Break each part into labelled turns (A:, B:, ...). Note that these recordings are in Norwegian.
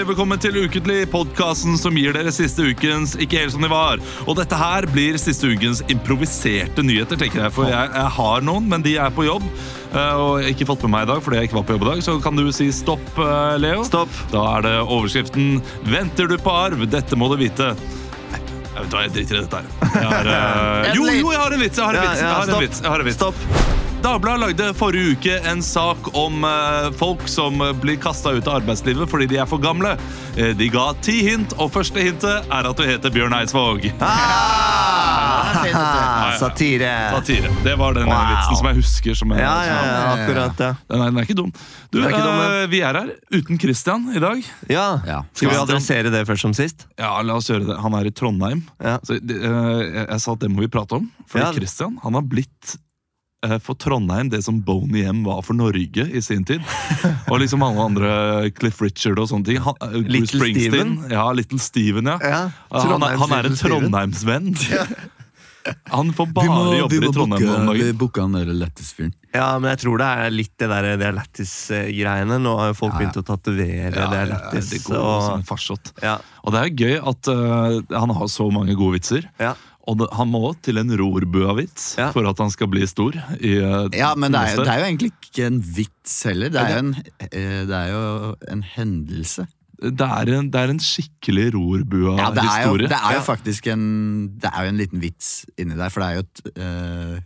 A: velkommen til Ukentlig, podkasten som gir dere siste ukens Ikke helt som de var. Og dette her blir siste ukens improviserte nyheter, tenker jeg. For jeg, jeg har noen, men de er på jobb. eh, Og ikke fått med meg i dag fordi jeg ikke var på jobb i dag. Så kan du si stopp, eh, Leo.
B: Stopp.
A: Da er det overskriften 'Venter du på arv? Dette må du vite'. Nei, Jeg vet hva, jeg driter i dette her. Jeg har, eh, jo, jo, jeg har en vits! Jeg har en
B: Ja,
A: vits!
B: ja,
A: Jeg har en
B: stopp.
A: vits. Jeg har en vits.
B: Stopp.
A: Dagbladet lagde forrige uke en sak om eh, folk som eh, blir kasta ut av arbeidslivet fordi de er for gamle. Eh, de ga ti hint, og første hintet er at du heter Bjørn Eidsvåg.
B: Ah!
C: Ja,
A: ja.
B: Satire.
A: Satire. Det var den ene
B: Wow.
A: vitsen som jeg husker. Som jeg,
B: Ja, ja,
A: som-
B: ja, akkurat, ja.
A: Den, er, den er ikke dum. Du,
B: Den er ikke dum,
A: eh, vi er her uten Christian i dag.
B: ja.
C: Ja.
B: Skal vi adressere det først som sist?
A: Ja, la oss gjøre det. Han er i Trondheim.
B: Ja.
A: Så, det, eh, jeg, jeg sa at det må vi prate om. Fordi
B: Ja.
A: Christian han har blitt eh, for Trondheim det som Boney M var for Norge i sin tid. Og liksom alle andre Cliff Richard og sånne ting. Han, eh, Bruce
B: Little
A: Springsteen. Ja, Little Steven, ja.
B: Ja,
A: han, er- han er en
B: Trondheims Little
A: Trondheimsvenn. Han får bare jobber i Trondheim nå om dagen.
C: booke han der lættis-fyren.
B: Ja, men jeg tror det er litt det der det er lættis-greiene. Nå har jo folk begynt å tatovere
A: Ja,
B: det er
A: ja,
B: lættis.
A: det går jo som en
B: og,
A: farsott.
B: ja,
A: Og det er gøy at eh, han har så mange gode vitser.
B: ja.
A: Og det, han må til en rorbua-vits
B: Ja.
A: for at han skal bli stor. I, eh,
C: Ja, men det er, jo,
A: neste.
C: det er jo egentlig ikke en vits heller. Det er jo en, eh, det er jo en hendelse.
A: Det er en, det er en skikkelig
C: Ja, det, er jo,
A: rorbua-historie.
C: det er jo
B: Ja.
C: faktisk en Det er jo en liten vits inni der, for det er jo et eh,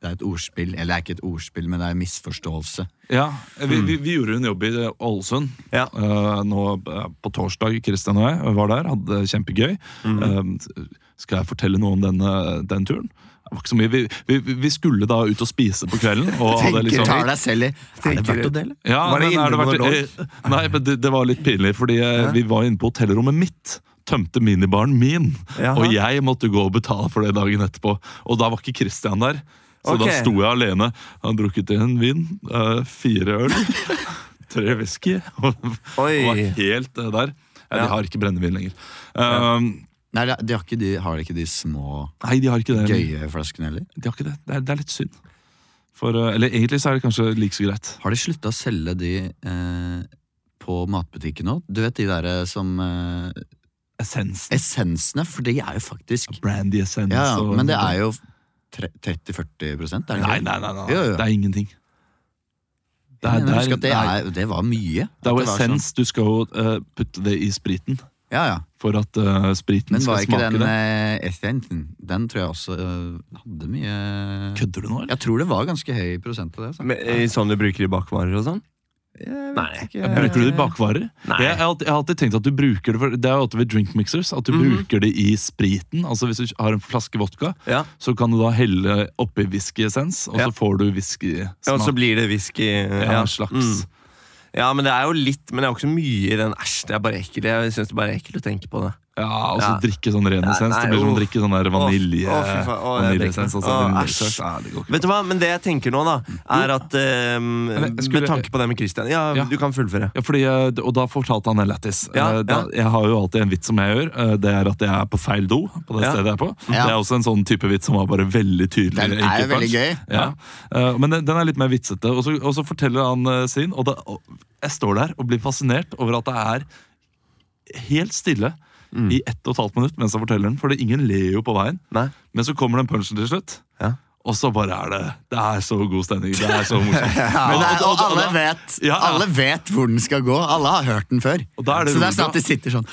C: det er et ordspill, eller det er ikke et ordspill, men det er en misforståelse.
A: Ja, vi, vi,
C: Mm.
A: vi gjorde en jobb i eh, Ålesund
B: Ja.
A: eh, nå eh, på torsdag. Kristian og jeg var der, hadde det kjempegøy.
C: Mm.
A: Eh, skal jeg fortelle noe om denne, den turen? Det var ikke så mye. Vi, vi, vi skulle da ut og spise på kvelden. Og hadde
C: Tenker,
A: liksom,
C: tar deg selv i Er det
B: Tenker-
C: verdt å dele?
A: Ja,
B: Var det
A: men er
B: inne
A: verdt-
B: monolog?
A: eh, Nei, men det, det var litt pinlig, fordi eh, vi var inne på hotellrommet mitt. Tømte minibaren min,
B: Jaha.
A: og jeg måtte gå og betale for det dagen etterpå. Og da var ikke Christian der, så
B: Ok.
A: da sto jeg alene. Han drukket en vin, eh, fire øl, tre whisky, og, og
B: Oi.
A: var helt eh, der. Ja, de
B: Ja.
A: har ikke brennevin lenger. Um,
C: Nei, de har ikke de, har ikke de små,
A: nei, de har ikke det.
C: gøye flaskene heller?
A: De har ikke det. Det, er, det er litt synd. For, eh, eller egentlig så er det kanskje like så greit.
C: Har de slutta å selge de eh, på matbutikken nå? Du vet de der som eh,
A: Essensen.
C: Essensene, for de er jo faktisk
A: Brandy essens.
C: Ja,
A: og-
C: men det er jo tre- 30-40 prosent, er det
A: Nei,
C: ikke?
A: nei, nei, nei.
C: Jo, jo.
A: det er ingenting. Det
C: Jeg
A: er, det
C: mener,
A: er,
C: husk at
A: det
C: det,
A: er,
C: er, det var
A: det er
C: mye. At
A: jo
C: var
A: essens. Du skal jo eh, putte det i spriten
C: Sånn. Ja, ja.
A: for at eh, spriten
C: Men var
A: skal
C: ikke
A: smake
C: den
A: det.
C: eh, essensen Den tror jeg også eh, hadde mye
A: Kødder du nå, eller?
C: Jeg tror det var ganske høy prosent av det. altså. Så.
B: Men, eh, Sånn du bruker i bakvarer og sånn?
C: Jeg vet
B: Nei.
C: ikke.
A: Bruker du
C: eh,
A: det i bakvarer?
B: Nei.
A: Jeg, jeg, har alltid, jeg har alltid tenkt at du bruker det for, Det er jo alltid ved drink mixers. At du
C: Mhm.
A: bruker det i spriten. Altså Hvis du har en flaske vodka,
B: Ja.
A: så kan du da helle oppi whiskyessens, og
B: Ja.
A: så får du whiskysmak.
B: Ja, og så blir det whisky.
A: ja,
B: ja.
A: slags.
B: Mm. Ja, men det er jo litt, men det er jo ikke så mye i den æsj, det er bare ekkelt. Jeg syns det bare er ekkelt å tenke på det.
A: Ja, og så
B: Ja.
A: drikke sånn ren
B: Nei,
A: essens. Det
B: nei,
A: blir som å
B: uff.
A: drikke sånn der vanilje,
B: Å, fy faen. Å, jeg
A: vaniljeessens.
B: drikker.
A: Altså,
B: Å,
A: vaniljeessens.
B: æsj.
A: Ja, det går ikke.
B: Vet du hva, men det jeg tenker nå, da, er at eh,
A: jeg skulle-
B: Med tanke på det med Christian Ja,
A: Ja.
B: du kan fullføre.
A: Ja, fordi, eh, d- og da fortalte han en lættis.
B: Ja,
A: Eh, da- Jeg har jo alltid en vits som jeg gjør. eh, Det er at jeg er på feil do. på det
B: Ja.
A: stedet jeg er på.
C: Ja.
A: Det er også en sånn type vits som var bare veldig tydelig.
C: Den er jo
A: enkelt,
C: veldig
A: kanskje.
C: gøy.
A: Ja. Eh, Men den den er litt mer vitsete. Og så, og så forteller han eh, sin, og, da, og jeg står der og blir fascinert over at det er helt stille
C: Mm.
A: i ett og et halvt minutt mens han forteller den, fordi ingen ler jo på veien.
B: Nei?
A: Men så kommer den punchen til slutt.
B: Ja.
A: Og så bare er det Det er så god stemning. Det er så morsomt.
C: Ja, men det er, og alle
A: da-
C: vet,
A: Ja, ja.
C: alle vet hvor den skal gå. Alle har hørt den før.
A: Og da er det
C: så det
A: rolig,
C: er sånn
A: da.
C: at de sitter sånn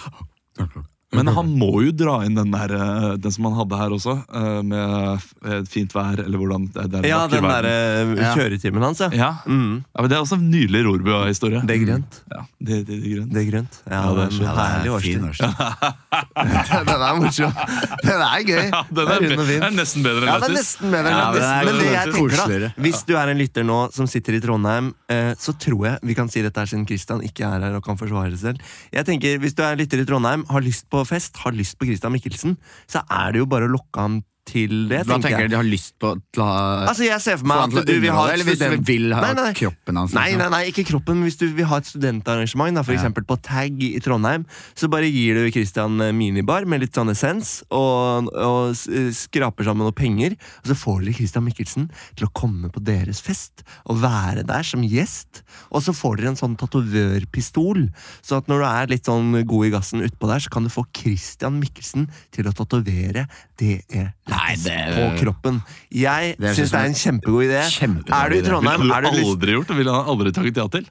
B: Mhm.
A: Men han må jo dra inn den der eh, Den som han hadde her også, eh, med f- eh, fint vær, eller hvordan det det er
B: Ja,
A: vakker
B: den eh,
A: verden.
B: derre
C: Ja.
B: kjøretimen hans, ja.
A: ja.
B: Mm.
A: ja, men Det er også en nydelig Rorbua-historie.
B: Det er grønt.
A: Ja, det, det, det er grønt.
B: Det er grønt. Ja,
A: Ja, det er
B: det er
A: så-
B: en herlig
C: fin
B: årstid.
C: årstid. den er morsom. Den er gøy.
A: Ja, den er,
C: rund og fin.
A: er nesten bedre enn
C: Ja, det er
A: Lattis.
C: nesten bedre enn
B: Ja, men det
C: Lattis.
B: er-
C: Men det jeg tenker, da
B: Koseligere. Hvis du er en lytter nå som sitter i Trondheim, eh, så tror jeg vi kan si dette her siden Christian ikke er her og kan forsvare seg selv. Jeg tenker, Hvis du er lytter i Trondheim, har lyst på fest, har lyst på Christian Mikkelsen, så er det jo bare å lokke ham til det,
C: Hva
B: tenker
C: tenker
B: jeg.
C: du de har lyst på til å ha
B: Altså, jeg ser for
C: Få
B: meg
C: han til å
B: at du vil ha
C: underholde,
B: et
C: eller hvis du
B: student...
C: vil ha
B: Nei, nei.
C: kroppen hans,
B: Nei,
C: liksom?
B: nei, nei, ikke kroppen, men hvis du vil ha et studentarrangement, da, for
C: Ja.
B: eksempel på Tag i Trondheim, så bare gir du Christian eh, minibar med litt sånn essens, og, og s- eh, skraper sammen noe penger, og så får dere Christian Mikkelsen til å komme på deres fest, og være der som gjest, og så får dere en sånn tatovørpistol, så at når du er litt sånn god i gassen utpå der, så kan du få Christian Mikkelsen til å tatovere det er
C: Nei, det-
B: på kroppen. Jeg
C: Det er sånn
B: syns det er en kjempegod idé.
C: Kjempegod
B: Er du i
C: idé.
A: Ville
B: Trondheim,
A: du
B: er du lyst
A: aldri gjort det? Ville han aldri takket ja til?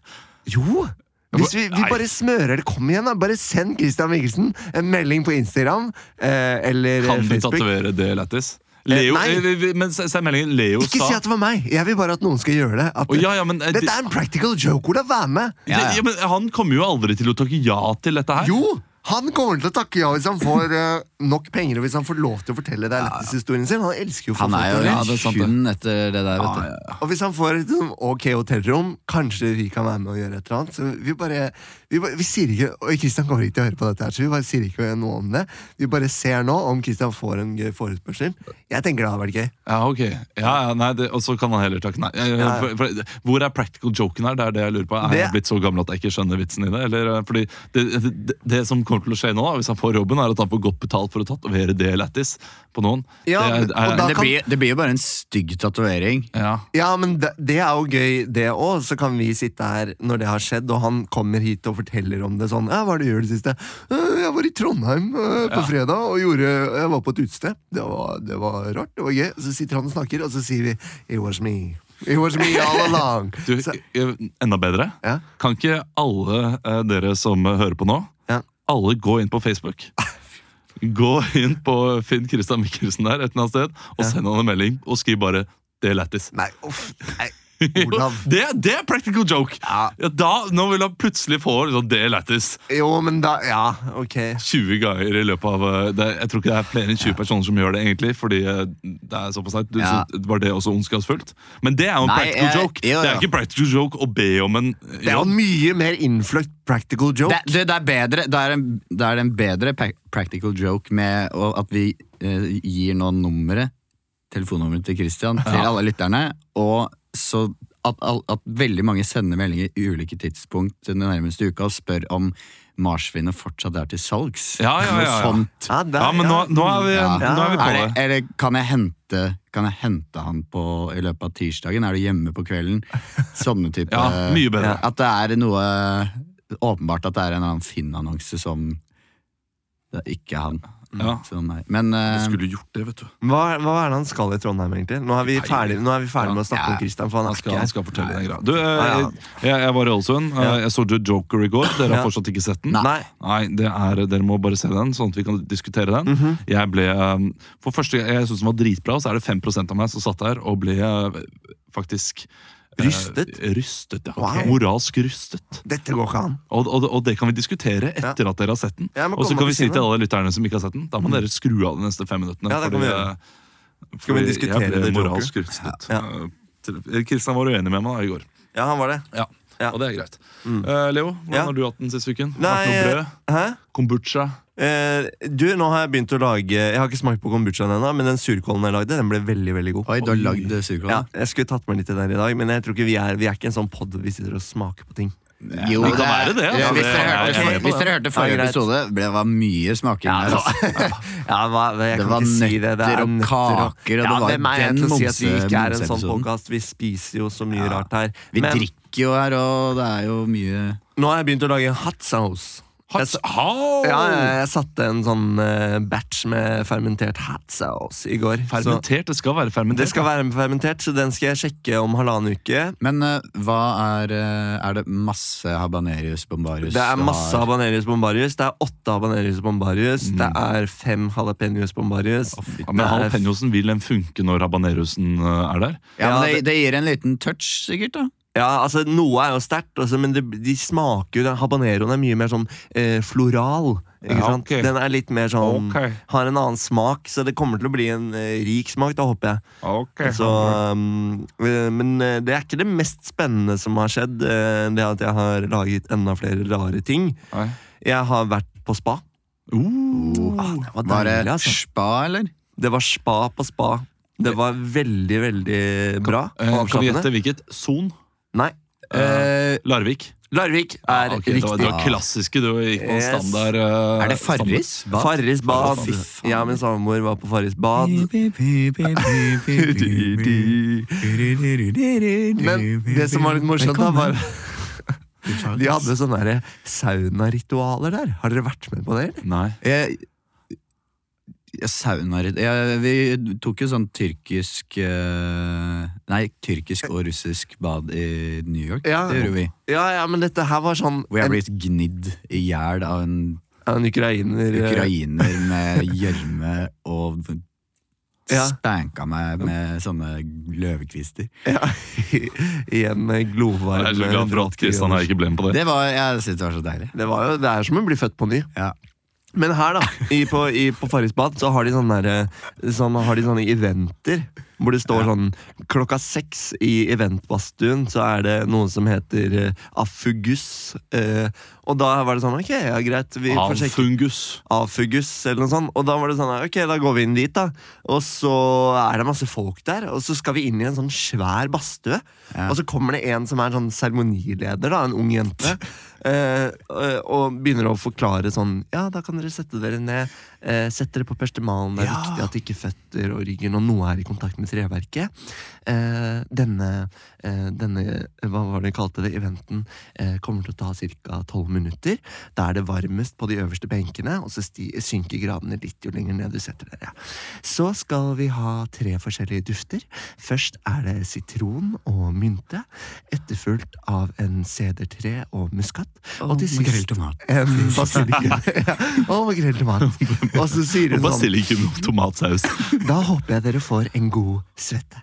B: jo! Hvis vi, vi
A: Nei.
B: bare smører det, kom igjen, da! Bare send Christian Mikkelsen en melding på Instagram eh, eller eh,
A: Kan du
B: Facebook.
A: tatovere det lættis?
B: Eh,
A: Leo,
B: nei.
A: eh, vi- vi- men se- se meldingen. Leo
B: Ikke
A: sa
B: si at det var meg! Jeg vil bare at noen skal gjøre det. At,
A: Å, ja, ja, men, eh,
B: Dette
A: det-
B: er en practical joke, Ola! Vær med!
C: Ja,
A: Det-
C: ja.
A: ja, men Han kommer jo aldri til å takke ja til dette her.
B: Jo! Han kommer til å takke ja hvis han får eh, nok penger og hvis han får lov til å fortelle deg lættishistorien sin. Han elsker jo å få
C: Han er
B: folk til
C: jo
B: å
C: ja,
B: le.
C: det er sant, den etter det der, vet du.
B: Og hvis han får et sånn ok hotellrom, kanskje vi kan være med og gjøre et eller annet. Så vi bare, vi, bare, vi sier ikke, og Kristian kommer ikke til å høre på dette, her, så vi bare sier ikke noe om det. Vi bare ser nå om Kristian får en gøy forespørsel. Jeg tenker det hadde vært gøy.
A: Ja, ok. Ja, ja, nei, det, og så kan han heller takke nei. Eh,
B: ja.
A: For, for, hvor er practical joken her? Det er det jeg lurer på. Er
B: Det-
A: jeg blitt så gammel at jeg ikke skjønner vitsen i det? Eller, eh, fordi det, det, det som kommer til å skje nå, da, hvis han får jobben, er at han får godt betalt for å tatovere det lættis på noen.
B: Ja,
A: det,
B: og
A: er- er-
B: da-
C: Men det
B: kan-
C: blir, det blir jo bare en stygg tatovering.
A: ja.
B: Ja, men det, det er jo gøy, det òg. Så kan vi sitte her når det har skjedd, og han kommer hit og forteller om det sånn. Ja, 'Hva er det du gjør det siste?' «Øh, 'Jeg var i Trondheim øh, på fredag og gjorde Jeg var på et utested. Det var, det var rart. Det var gøy.' Så sitter han og snakker, og så sier vi 'It was me'. It was me all along.
A: Du,
B: Så,
A: eh, enda bedre.
B: Ja.
A: Kan ikke alle eh, dere som eh, hører på nå,
B: Ja.
A: alle gå inn på Facebook? Gå inn på Finn Christian Mikkelsen der et eller annet sted, og send han en melding og skriv bare 'Det er lættis'.
B: nei, uff. Nei,
A: Jo,
B: Olav.
A: Det, det er practical joke!
B: Ja.
A: Ja, da, nå vil han plutselig få liksom, 'Det er lættis'
B: Jo, men da Ja, ok.
A: 20 ganger i løpet av eh, det, Jeg tror ikke det er flere enn 20 personer som gjør det, egentlig, fordi eh, det er såpass leit. Du-
C: Ja.
A: så Var det også ondskapsfullt? Men det er jo en
C: Nei,
A: practical
C: jeg-
A: joke.
C: jo,
A: Det er
C: ja.
A: ikke practical joke å be om en
B: Det er jo en mye mer innfløkt practical joke.
C: Det, det, det, er bedre, det, er en, det er en bedre pa- practical joke med å- at vi eh, gir nå nummeret, telefonnummeret til Christian, til alle lytterne, og så at, all- at veldig mange sender meldinger i ulike tidspunkt den nærmeste uka og spør om marsvinet fortsatt er til salgs.
A: Ja, ja, ja, ja.
C: Noe sånt.
B: Ja, der,
A: Ja, men nå, nå, er vi,
C: Ja.
A: nå er vi på
C: Er det,
A: det.
C: eller kan jeg hente Kan jeg hente han på, i løpet av tirsdagen? Er du hjemme på kvelden? Sånne type
A: Ja, mye bedre.
C: Ja, At det er noe Åpenbart at det er en eller annen Finn-annonse som Det er ikke han.
A: Ja.
C: Som er, men eh,
A: gjort det, vet du.
B: Hva, hva er det han skal i Trondheim, egentlig? Nå er vi ferdig, nå er vi ferdig med å snakke
C: Ja.
B: om Christian, for han
A: Han
B: er ikke
A: skal, han
B: her.
A: skal fortelle den greia. Du, eh,
B: Ja, ja.
A: jeg, jeg var i Ålesund. eh, Jeg så The Joker i går. Dere
B: Ja.
A: har fortsatt ikke sett den?
B: Nei.
A: Nei, det er, Dere må bare se den, sånn at vi kan diskutere den.
B: Mhm.
A: Jeg ble, eh, for første gang, jeg syntes den var dritbra, og så er det 5 av meg som satt der og ble eh, faktisk eh,
B: Rystet?
A: rystet, ja.
B: Wow.
A: Moralsk rystet.
B: Dette går ikke an.
A: Og, og, og det kan vi diskutere etter at dere har sett den.
B: Ja, men
A: Og så
B: kom
A: kan
B: opp
A: vi
B: i
A: si til
B: kino. Mm.
A: alle lytterne som ikke har sett den, da må dere skru av de neste fem minuttene.
B: Ja, det kan vi gjøre.
A: eh,
B: Skal vi
A: fordi
B: diskutere
A: jeg ble
B: det, Joker?
A: moralsk rystet.
B: Ja.
A: Eh, til- Kristian var uenig med meg da i går.
B: Ja, han var det.
A: Ja.
B: Ja. Mm.
A: Og det er greit. Eh, Leo, hvordan
B: Ja.
A: har du hatt den siste uken?
B: Nei,
A: Vært noe
B: eh,
A: brød?
B: Hæ?
A: Kombucha?
B: Eh, du, nå har jeg begynt å lage Jeg har ikke smakt på kombuchaen ennå, men den surkålen jeg lagde, den ble veldig veldig god.
C: Oi, du har lagd surkål?
B: Ja,
C: da?
B: jeg skulle tatt med litt til den i dag, men jeg tror ikke vi er, vi er ikke en sånn pod hvor vi sitter og smaker på ting.
C: Jo,
A: Det kan være det, altså.
C: ja,
A: Det-
C: hvis, dere
A: jeg er
C: hørte,
A: med på
C: hvis dere hørte forrige
B: Ja, greit.
C: episode, ble, det var mye smaking der. altså.
B: Ja, hva, jeg
C: Det
B: kan
C: var
B: ikke si det. Det
C: nøtter
B: er
C: og kaker, og
B: ja,
C: det var
B: hvem er jeg
C: den
B: til å si at vi
C: momse-
B: ikke er en sånn
C: momseepisoden.
B: podkast? Vi spiser jo så mye rart her.
C: Vi
B: men
C: drikker jo her, og det er jo mye
B: nå har jeg begynt å lage en hot sauce. Jeg s-
A: Hats, how?
B: Ja, jeg, jeg satte en sånn eh, batch med fermentert hot sauce i går. så-
A: Fermentert? Det skal være fermentert.
B: Det skal være fermentert, så den skal jeg sjekke om halvannen uke.
C: Men eh, hva er eh, Er det masse habanerius bombarius?
B: Det er
C: du
B: masse
C: har? Mm.
B: habanerius bombarius. Det er åtte habanerius bombarius. Det er fem jalapeños bombarius.
A: ja, men jalapeñosen vil den funke når habanerosen eh, er der?
C: Ja,
B: Ja,
C: men det, det gir en liten touch, sikkert. da
B: Ja, altså Noe er jo sterkt, altså, men det, de smaker jo Habaneroen er mye mer sånn eh, floral. Ikke
A: Ja,
B: sant?
A: ok.
B: Den er litt mer sånn
A: Ok.
B: Har en annen smak, så det kommer til å bli en eh, rik smak, da håper jeg.
A: Ok.
B: Så, um, eh, men eh, det er ikke det mest spennende som har skjedd. eh, Det at jeg har laget enda flere rare ting.
A: Nei.
B: Jeg har vært på spa.
A: Uh,
B: Ah, det var
A: Oh,
C: Var det
B: deilig, altså.
C: spa, eller?
B: Det var spa på spa. Det var veldig, veldig bra.
A: Eh,
B: og
A: Kan vi
B: avslappende.
A: gjette hvilket? Son?
B: Nei.
A: Eh, Larvik?
B: Larvik er
A: Ah, ok, det var, det
B: riktig.
A: var klassiske, du gikk på en
B: Yes.
A: standard eh,
C: Er det Farris? Hva?
B: Farris bad.
A: Å,
C: fy faen.
B: Ja, min samboer var på Farris bad. Men det som var litt morsomt, da, var De hadde sånne der saunaritualer der. Har dere vært med på det? eller?
A: Nei.
C: Jeg, jeg saunaer jeg, Vi tok jo sånn tyrkisk eh, Nei, tyrkisk og russisk bad i New York.
B: Ja.
C: Det gjorde vi.
B: Ja, ja, men dette her var sånn
C: Hvor jeg
B: en,
C: ble gnidd i hjel av en
B: en ukrainer eh,
C: ukrainer med gjørme og
B: Ja.
C: spanka meg med sånne løvekvister.
B: i en eh, glovarm
A: Jeg er så glad for
B: 180
A: at Kristian her ikke ble med på det.
C: Det var, jeg synes det var så deilig.
B: Det, var jo, det er som å bli født på ny.
C: Ja.
B: Men her, da, i, på, i, på Farris bad, så har de sånne, der, eh, sånn, har de sånne eventer. Hvor det står sånn Klokka seks i eventbadstuen så er det noe som heter eh, affugus. Eh, og da var det sånn Ok, ja, greit. Vi
A: Av
B: får sjekke
A: fungus.
B: avfugus eller noe sånt. Og da var det sånn, ok, da går vi inn dit da. Og så er det masse folk der, og så skal vi inn i en sånn svær badstue.
C: Ja.
B: Og så kommer det en som er en sånn seremonileder, da, en ung jente. eh, og- og begynner å forklare sånn Ja, da kan dere sette dere ned. Eh, sett dere på perstemalen. Det er
C: Ja.
B: viktig at ikke føtter og ryggen og noe er i kontakt med treverket. Eh, denne, eh, denne Hva var det de kalte det? Eventen eh, kommer til å ta ca. 12 minutter. Da er det varmest på de øverste benkene, og så sti, synker gradene litt jo lenger ned du setter dere. Så skal vi ha tre forskjellige dufter. Først er det sitron og mynte, etterfulgt av en sedertre og muskat. Og til sist
C: tomat.
B: en basilikum. Ja, og makrell til mat. Og så sier
A: Og
B: hun sånn
A: basilikum og tomatsaus.
B: Da håper jeg dere får en god svette.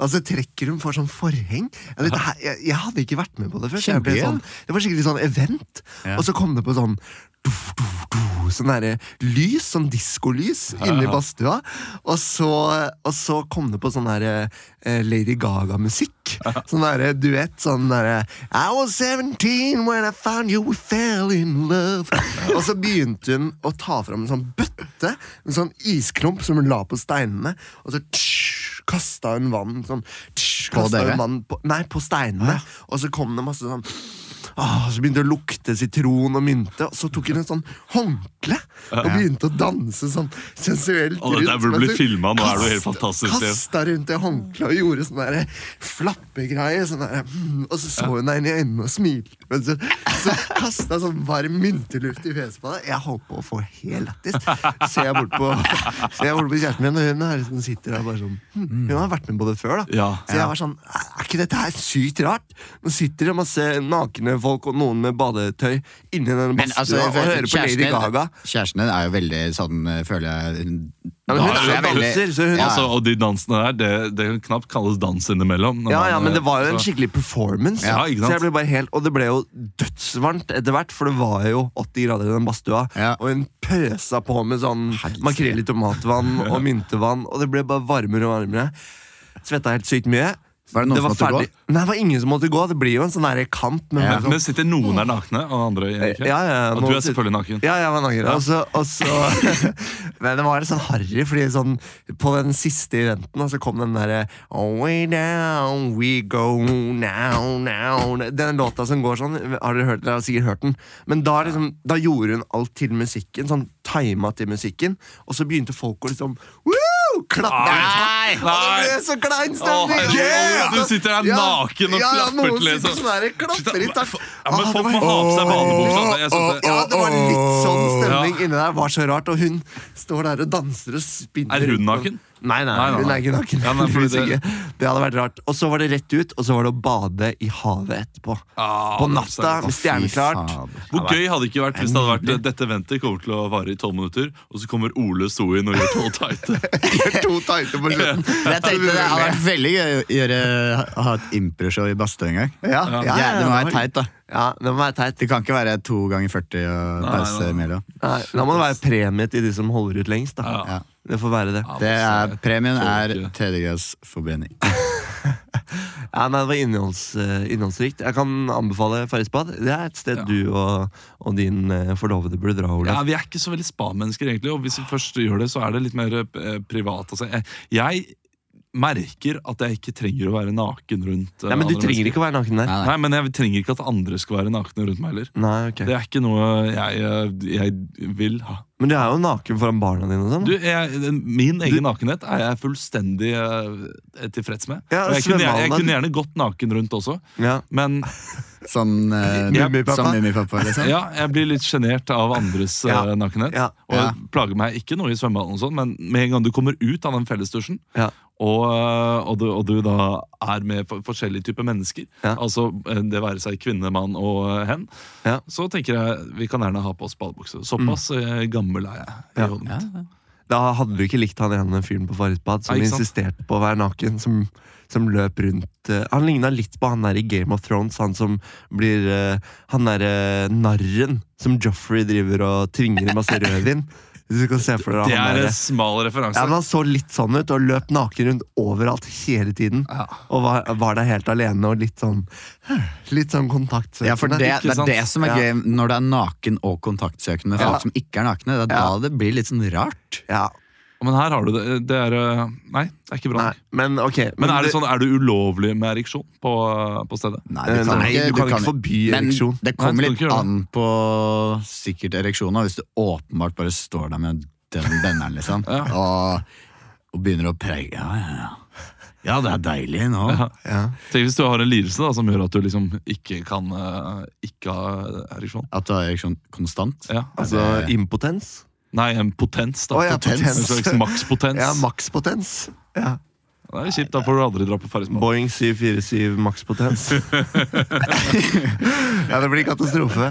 B: Og så trekker hun for sånn forheng. Jeg, vet, her- jeg, jeg hadde ikke vært med på det først. Jeg ble
C: Kjempegøy.
B: sånn, det var skikkelig sånn event.
C: Ja.
B: Og så kom det på sånn do, do, do, Sånn derre lys, sånn diskolys inni badstua. Og så, og så kom det på sånn derre eh, Lady Gaga-musikk. Sånn derre duett. Sånn derre I was 17 when I found you, we fell in love. Og så begynte hun å ta fram en sånn bøtte, en sånn isklump som hun la på steinene, og så tsh, kasta hun vann sånn tsh,
C: På
B: kastet hun
C: dere?
B: vann vann på, Nei, på steinene. Og så kom det masse sånn Åh, Så begynte det å lukte sitron og mynte, og så tok hun en sånn håndkle og begynte å danse sånn sensuelt
A: Å, dette burde
B: mens
A: bli
B: hun
A: filmet. Nå er det jo helt
B: kast-
A: fantastisk, det.
B: Kasta rundt det håndkleet og gjorde sånn derre flappegreie. Sånn derre, mm, og så så hun deg inn i øynene og smilte. Men så, så kasta sånn varm mynteluft i fjeset på deg. Jeg holdt på å få helt lættis. Ser jeg bort på, ser jeg bort på kjæresten min, og hun er, hun sitter der bare sånn hm, Hun har vært med på det før, da.
A: Ja.
B: Så jeg var sånn, er ikke dette her sykt rart? Nå sitter det masse nakne folk og noen med badetøy inni denne
C: Men altså,
B: badstua og hører på Lady
C: kjæresten,
B: Gaga.
C: kjæresten din er jo veldig sånn, eh, føler jeg Hun,
B: Ja, men hun
A: Ja,
B: er jo
A: ja, veldig-
B: danser, så hun
C: Ja.
A: Altså, og de dansene der, det, det kan knapt kalles dans innimellom. når
B: Ja, ja,
A: man,
B: men
A: eh,
B: det var jo en
A: så-
B: skikkelig performance.
A: Ja, ikke sant?
B: Så jeg ble bare helt, Og det ble jo dødsvarmt etter hvert, for det var jo 80 grader i den badstua.
C: Ja.
B: Og hun pøsa på med sånn makrell i tomatvann og myntevann, og det ble bare varmere og varmere. Svetta helt sykt mye.
C: Var det noen som måtte gå?
B: Nei, det var ingen som måtte gå. Det blir jo en sånn der kamp. Men
C: Ja.
B: men-
A: Men sitter noen der nakne, og andre ikke?
B: Eh, Ja, ja,
A: og du
B: noen
A: er
B: sit-
A: selvfølgelig naken.
B: Ja, jeg var naken. Og så, og så Men det var litt sånn harry, fordi sånn på den siste eventen da, så kom den derre oh, way down, we go now, now Den låta som går sånn, har dere hørt den? Dere har sikkert hørt den. Men da, liksom, da gjorde hun alt til musikken, sånn tima til musikken, og så begynte folk å liksom Woo! Klappe!
A: Nei!
B: Og da ble det så klein stemning!
A: Å, herregud, du sitter der naken og klapper til,
B: Ja, noen
A: liksom.
B: sitter sånn der, klapper i takt.
A: Ja, men
B: Ah, det
A: folk
B: var
A: må ha på seg badebuksa. altså. Jeg synes det-
B: ja, det var litt sånn stemning inni der. var så rart Og hun står der og danser og spinner.
A: Er hun
B: rundt om-
A: naken?
B: Nei, nei,
A: Nei, nei,
B: hun
A: nei.
B: er ikke naken.
A: Ja, nei, fordi
B: Heldigvis
A: det-
B: ikke. det hadde vært rart. Og så var det rett ut, og så var det å bade i havet etterpå.
A: Ah,
B: På
A: absolutt.
B: natta, med stjerneklart.
C: Fy fader.
A: Hvor gøy hadde det ikke vært hvis det hadde vært eh, dette ventet kommer til å vare i tolv minutter, og så kommer Ole Soin og gjør tolv tighte.
B: to tighte på slutten.
C: Men Jeg tenkte Det hadde vært veldig gøy å gjøre, å ha et improshow i badstua en gang.
B: Ja, ja, ja,
C: det må
B: ja,
C: være teit, da.
B: Ja, det må være teit.
C: Det kan ikke være to ganger 40 og
A: Nei,
C: pause
A: nei.
C: imellom.
B: Nei, Da må det være premie til de som holder ut lengst. da
A: Ja.
B: Det får være det.
C: Det er, premien
A: tolv
C: er
A: uker.
C: tredjegrads forbrenning.
B: Ja, nei, det var innholds, eh, innholdsrikt. Jeg kan anbefale Farrisbad. Det er et sted
A: Ja.
B: du og, og din eh, forlovede burde dra,
A: Ja,
B: Olav.
A: Vi er ikke så veldig spa-mennesker, egentlig. Og hvis vi først gjør det, så er det litt mer eh, privat. Altså, jeg, jeg merker at jeg ikke trenger å være naken rundt eh,
B: Nei, men Du
A: andre
B: trenger
A: mennesker.
B: ikke å være naken der.
C: Nei,
A: Nei, men jeg trenger ikke at andre skal være nakne rundt meg heller.
B: Nei, ok
A: Det er ikke noe jeg, eh, jeg vil ha.
B: Men du er jo naken foran barna dine og sånn.
A: Du, jeg, den- min egen nakenhet er jeg fullstendig eh, tilfreds med.
B: Ja,
A: og jeg, kunne, jeg, jeg
B: svømmehallen.
A: kunne gjerne gått naken rundt også,
B: Ja.
A: men
C: Sånn eh,
B: Mummipappa.
C: sånn Mummipappa, liksom.
A: ja, jeg blir litt sjenert av andres eh,
B: Ja.
A: nakenhet.
B: Ja.
A: Og jeg plager meg ikke noe i svømmehallen, og sånn, men med en gang du kommer ut av den fellesdusjen,
B: Ja.
A: og, eh, og, du, og du da er med for- forskjellige typer mennesker,
B: Ja.
A: altså eh, det være seg kvinne, mann og eh, hen,
B: Ja.
A: så tenker jeg vi kan gjerne ha på oss badebukse. Såpass eh, gammel er jeg. i
B: Mm. Ja.
A: hodet mitt.
B: Da hadde du ikke likt han ene fyren på Farrisbad som
A: Nei, ikke sant?
B: insisterte på å være naken. Som, som løp rundt eh, Han ligna litt på han der i Game of Thrones, han som blir eh, Han derre narren som Joffrey driver og tvinger i masse rødvin. Hvis du kan se for deg
A: Det
B: han
A: er
B: derre-
A: en smal referanse.
B: Ja, men Han så litt sånn ut og løp naken rundt overalt hele tiden.
A: Ja.
B: Og var, var der helt alene og litt sånn Litt sånn kontaktsøkende.
C: Ja, for det,
A: Ikke
C: det er
A: sant?
C: det som er
B: Ja.
C: gøy når det er naken og kontaktsøkende folk
B: Ja.
C: som ikke er nakne. Det er
B: Ja.
C: da det blir litt sånn rart.
B: Ja,
A: Men her har du det. det er, eh, nei, det er ikke bra.
B: nei, men ok.
A: Men er det
B: du-
A: sånn, er du ulovlig med ereksjon på, på stedet?
C: Nei,
B: eh, Nei, du kan ikke forby
C: Men
B: ereksjon.
A: Nei,
C: det
A: du
C: kommer
A: kan
C: litt
A: ikke gjøre det.
C: an på sikkert ereksjonen. Hvis du åpenbart bare står der med den benderen, liksom,
A: Ja.
C: og, og begynner å preie Ja, ja, ja. ja, det er deilig nå.
A: Ja.
B: Ja.
A: Tenk hvis du har en lidelse da, som gjør at du liksom ikke kan eh, ikke ha ereksjon.
C: At du har ereksjon konstant.
A: Ja.
B: Altså
C: det-
B: impotens?
A: Nei, en potens. da.
B: Å, ja,
A: potens.
B: potens.
A: En slags makspotens.
B: Ja, makspotens. Ja.
A: det er kjipt, da får du aldri dra på Farrisbad.
B: Boeing 747 makspotens. ja, det blir katastrofe.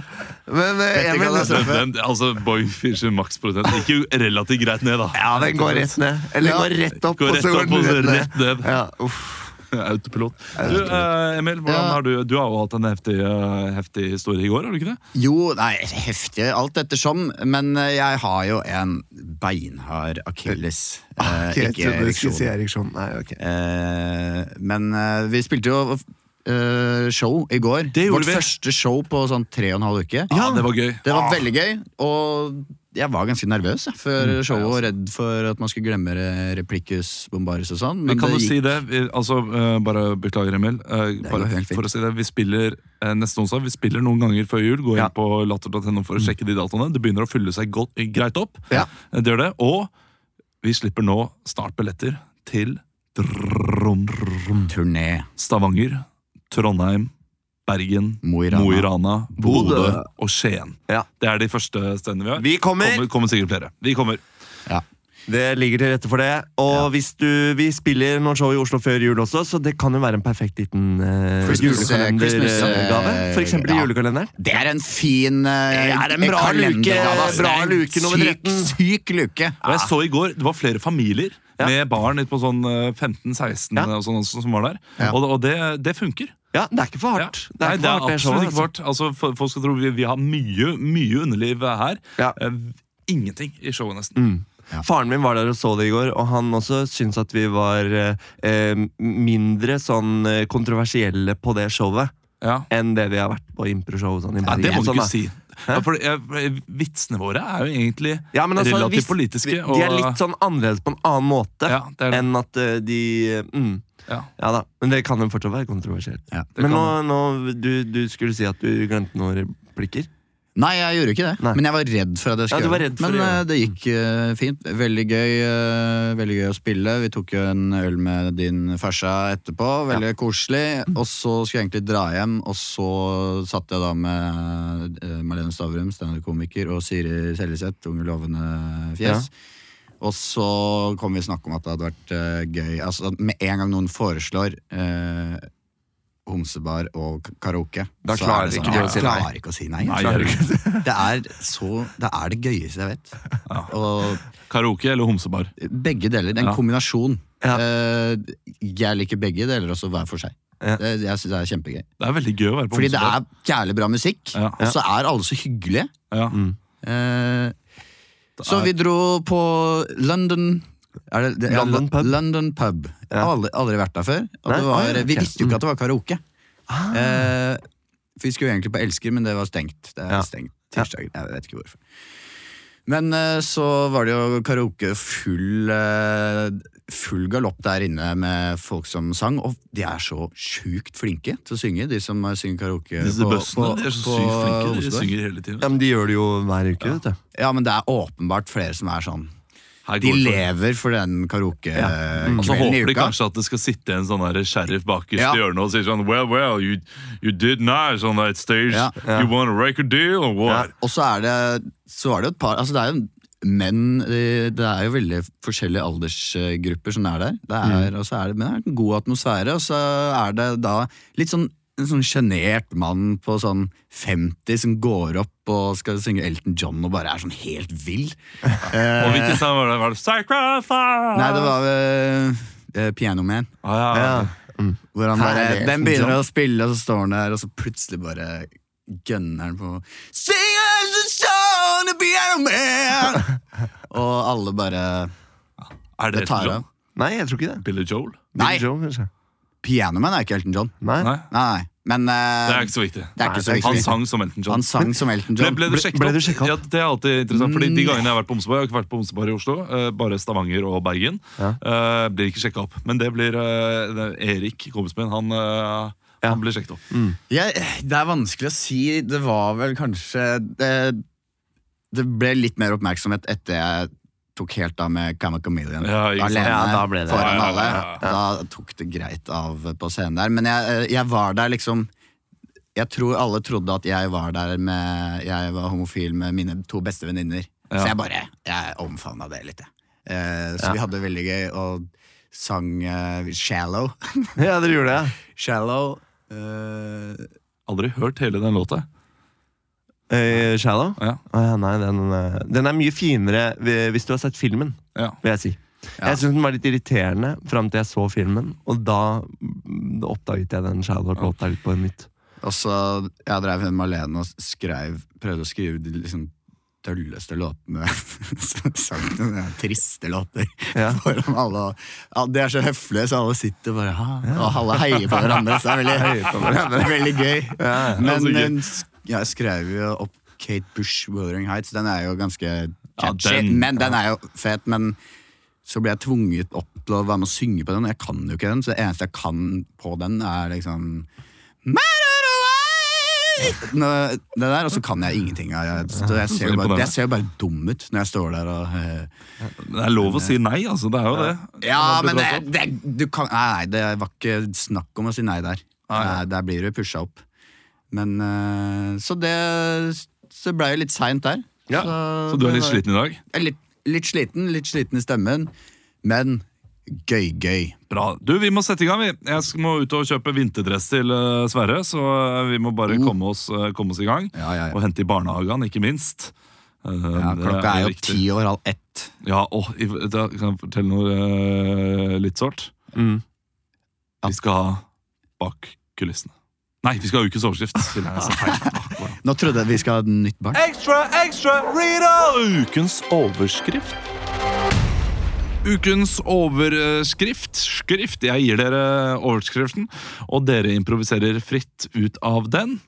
B: Men eh,
C: Dette
B: Emil,
C: katastrofe.
A: Den- Altså, Boeing 47 makspotens gikk jo relativt greit ned, da.
B: ja, den går rett ned. Eller den går rett opp,
A: Går
B: og
A: rett
B: så går
A: opp og så
B: den
A: rett
B: rett ned.
A: ned.
B: Ja, uff.
A: Autopilot. Du, eh, Emil, hvordan
C: Ja.
A: har du, du har jo hatt en heftig, eh, heftig historie i går, har du ikke det?
C: Jo, nei, heftig alt ettersom, men eh, jeg har jo en beinhard akilles. eh,
B: Ok, jeg
C: ikke
B: trodde du skulle
C: ereksjon.
B: si ereksjon. Nei, ok.
C: Eh, men eh, vi spilte jo eh, show i går.
A: Det gjorde
C: Vårt
A: vi.
C: første show på sånn tre og en halv uke.
A: Ja, det var gøy. Ah.
C: Det
B: Ah.
C: var veldig gøy, og jeg var ganske nervøs jeg, før
B: Mm,
C: showet
B: altså.
C: og redd for at man skulle glemme re- replikkhus, bombaris og sånn.
A: Vi
C: Men
A: kan jo
C: det
A: si
C: gikk
A: det, vi, altså, eh, bare beklager Emil, eh,
C: går
A: bare
C: helt fint.
A: for å si det, vi spiller eh, neste onsdag, vi spiller noen ganger før jul, gå inn
B: Ja.
A: på latter.no for å sjekke de dataene, det begynner å fylle seg godt, eh, greit opp,
C: Ja.
A: Eh, det gjør det, og vi slipper nå snart billetter til
C: turné
A: Stavanger, Trondheim, Bergen,
C: Mo i Rana.
A: Mo i Rana,
B: Bodø.
A: Bodø og Skien.
B: Ja.
A: Det er de første stedene vi har.
B: Vi kommer!
A: kommer, kommer sikkert flere. Vi kommer.
B: Det ligger til rette for det. Og hvis du, vi spiller noen show i Oslo før jul også, så det kan jo være en perfekt liten eh,
C: Christmas, Christmas, eh,
B: julekalendergave. For eksempel i
C: ja.
B: julekalenderen.
C: Det er en fin eh,
B: Det er en bra
C: kalendergave,
B: luke,
C: ass. Det er
B: bra
C: en
B: luke nummer
C: syk-
B: 13.
C: Syk luke.
A: Og jeg så i går, det var flere familier
B: Ja.
A: med barn ut på sånn eh, 15-16
B: Ja.
A: og sånn også, som var der.
C: Ja.
A: Og, og det, det funker.
B: Ja, det er ikke for hardt.
A: Ja. Nei,
B: Det er ikke for hardt, det
A: absolutt
B: showet.
A: ikke vårt. Altså, fo- folk skal tro vi, vi har mye, mye underliv her.
B: Ja.
A: Eh, Ingenting i showet,
B: Mm.
A: nesten.
C: Ja.
B: Faren min var der og så det i går, og han også syntes at vi var eh, eh, mindre sånn eh, kontroversielle på det showet
A: Ja.
B: enn det vi har vært på improshow sånn i
A: Ja,
B: Bergen.
A: det må
B: og
A: du
B: sånn, da.
A: ikke si. Ja, for det- jeg- vitsene våre er jo egentlig
B: Ja, men altså,
A: relativt
B: hvis- vi-
A: politiske.
B: De er litt sånn annerledes på en annen måte
A: ja, det er det.
B: enn at eh, de eh, mm,
A: Ja.
B: Ja da, men det kan jo fortsatt være kontroversielt.
C: Ja,
A: det
B: men nå,
A: kan
B: nå du, du skulle si at du glemte noen replikker.
C: Nei, jeg gjorde ikke det.
B: Nei.
C: Men jeg var redd for at jeg
B: Ja, du
C: skulle
B: var
C: gjøre
B: redd
C: det.
B: for
C: Men
B: å gjøre
C: eh, det gikk eh, fint. Veldig gøy, eh, veldig gøy å spille. Vi tok jo en øl med din farsa etterpå. Veldig koselig. Og så skulle jeg egentlig dra hjem, og så satt jeg da med eh, Marlene Stavrum, standup-komiker, og Siri Seljeseth, Unge lovende fjes. Og så kom vi i snakk om at det hadde vært eh, gøy Altså at Med en gang noen foreslår eh, homsebar og k- karaoke
B: Da
C: så
B: klarer
C: er det
B: ikke du å
C: jeg
B: si nei.
C: klarer ikke å si nei.
A: Nei,
C: Jeg
A: jeg gjør ikke det.
C: det er, så, det er det gøyeste jeg vet.
A: Ja.
C: Og
A: Karaoke eller homsebar?
C: begge deler. En
A: Ja.
C: kombinasjon.
B: Ja.
C: Eh, jeg liker begge deler, også hver for seg.
B: Ja.
C: Det, jeg synes det er kjempegøy.
A: Det er veldig gøy å være på
C: Fordi det
A: homsebar.
C: er jævlig bra musikk,
A: Ja.
C: og så er alle så hyggelige.
A: Ja.
B: Mm.
C: Eh,
A: Det
C: så
A: er-
C: vi dro på London Er det, det, ja,
B: London pub.
C: London pub.
B: Ja.
C: Aldri, aldri vært der før. Og
B: Nei?
C: det var,
B: Ah, ja,
C: Vi
B: ok. Ah.
C: visste jo ikke at det var karaoke. Eh, for vi skulle jo egentlig på Elsker, men det var stengt. Det er
B: Ja.
C: stengt tirsdag. Jeg vet ikke hvorfor. Men eh, så var det jo karaoke full, eh, full galopp der inne med folk som sang. Og de er så sjukt flinke til å synge, de som eh, synger karaoke
A: Disse bøssene de er så sykt flinke. De
C: Oslo.
A: synger hele tiden.
B: Ja, men De gjør det jo hver uke. vet du
C: Ja, men det er åpenbart flere som er sånn.
A: Her
C: De
A: går det for-
C: lever for den karaokekvelden
A: Og så
C: i
A: håper de
C: uka.
A: kanskje at det skal sitte en sånn der sheriff bakerst
C: Ja.
A: i hjørnet og sier sånn Well, well, you, you did nice on that stage.
C: Ja.
A: You want a record deal or
B: Ja.
A: what?
C: Og så er det Så var det jo et par Altså det er jo menn eh, Det er jo veldig forskjellige aldersgrupper som er der. Det
A: Mm.
C: er, og så er det, men det er en god atmosfære, og så er det da litt sånn en sånn sjenert mann på sånn 50 som går opp og skal synge Elton John og bare er sånn helt vill. Eh,
A: Og hvilken sang var det? Var det Sacrifice?
C: nei, det var eh, eh, Piano Man.
A: Ah, ja.
B: Ja.
C: Hvor han
B: Her er
C: bare,
B: det
C: den
B: Elton
C: begynner
B: John.
C: å spille, og så står han der, og så plutselig bare gønner han på Sing us a song to be a man! Og alle bare
A: Er det
C: Det tar av.
A: Elton John?
B: Nei, jeg tror ikke det.
A: Billy Joel?
C: Nei.
B: Billy Joel, kanskje.
C: Pianoman er ikke Elton John.
B: Nei.
A: Nei,
C: Nei, nei. men eh,
A: det er ikke så viktig.
C: det er ikke så
B: Nei,
A: Han
C: viktig.
A: sang som Elton John.
C: Han sang som Elton
A: Ble,
C: John.
A: ble du
B: Ble-
A: sjekket
B: ble du
A: opp?
B: sjekket opp?
A: Ja, det er alltid interessant, fordi
C: Mm.
A: De gangene jeg har vært på Omsebar, jeg har ikke vært på Omsebar i Oslo, eh, bare Stavanger og Bergen,
B: Ja.
A: eh, blir ikke sjekka opp. Men det blir eh, det er Erik, kompisen min, han, eh,
B: Ja.
A: han blir sjekket opp.
C: Mm. Jeg, det er vanskelig å si. Det var vel kanskje Det, det ble litt mer oppmerksomhet etter jeg tok helt av med Camma Chameleon.
A: Ja, ikke sant.
C: alene
B: Ja, da ble det-
A: Ja,
C: foran
A: ja,
C: alle.
A: ja,
C: Da tok det greit av på scenen der. Men jeg, eh, jeg var der liksom Jeg tror alle trodde at jeg var der med Jeg var homofil med mine to beste venninner. Så jeg bare Jeg omfavna det litt, jeg. Eh, Så
B: Ja.
C: vi hadde det veldig gøy og sang eh, Shallow.
B: Ja, dere gjorde det.
C: Shallow eh,
A: Aldri hørt hele den låta.
B: ja. Eh, Shallow?
A: Ja.
B: Å ja, nei, den, eh, den er mye finere ved- hvis du har sett filmen,
A: Ja.
B: vil jeg si. Jeg syns den var litt irriterende fram til jeg så filmen, og da mm, oppdaget jeg den Shallow-låta ut på nytt.
C: Og så jeg drev hjemme alene og skrev, prøvde å skrive de liksom dølleste låtene. Så sang den der triste låter
B: Ja.
C: foran alle. og- Ja, de er så høflige, så alle sitter bare ha, og alle heier på hverandre. Så det er veldig, det er veldig gøy.
B: Ja,
A: det er så
C: Men
A: gøy.
C: eh, s- jeg skrev jo opp Kate Bush, 'Wuthering Heights'. Den er jo ganske catchy,
A: den-
C: men den er jo fet. Men så ble jeg tvunget opp til å være med å synge på den, og jeg kan jo ikke den. Så det eneste jeg kan på den, er liksom Nå- det der, og så kan jeg ingenting. Jeg, så jeg, ser jo bare, jeg ser jo bare dum ut når jeg står der og eh,
A: Det er lov å si nei, altså. Det er jo det.
C: Ja,
A: Man blir
C: men
A: dratt opp.
C: det, det, du kan, nei, nei, det var ikke snakk om å si nei der. Nei, Der blir du pusha opp. Men eh, Så det Så ble jeg litt seint der.
B: Ja,
A: Så du er litt sliten i dag?
C: Jeg er Eh, Litt, litt sliten, litt sliten i stemmen, men gøy-gøy.
A: Bra. Du, vi må sette i gang, vi. Jeg sk- må ut og kjøpe vinterdress til eh, Sverre, så eh, vi må bare komme, oss, eh, komme oss i gang.
C: Mm. Ja, ja, ja.
A: Og hente i barnehagen, ikke minst. Eh,
C: Ja,
A: det
C: klokka er jo
A: viktig.
C: ti over halv ett.
A: Ja, og i- da kan jeg fortelle noe eh, litt sårt.
B: Mm.
A: Vi skal ha bak kulissene. Nei, vi skal ha ukens overskrift. Vil jeg si feil. Bak, bak.
C: Nå trodde jeg vi skal ha et nytt barn.
A: Ekstra, ekstra, reader! Ukens overskrift. Ukens overskrift. Skrift. Jeg gir dere overskriften, og dere improviserer fritt ut av den.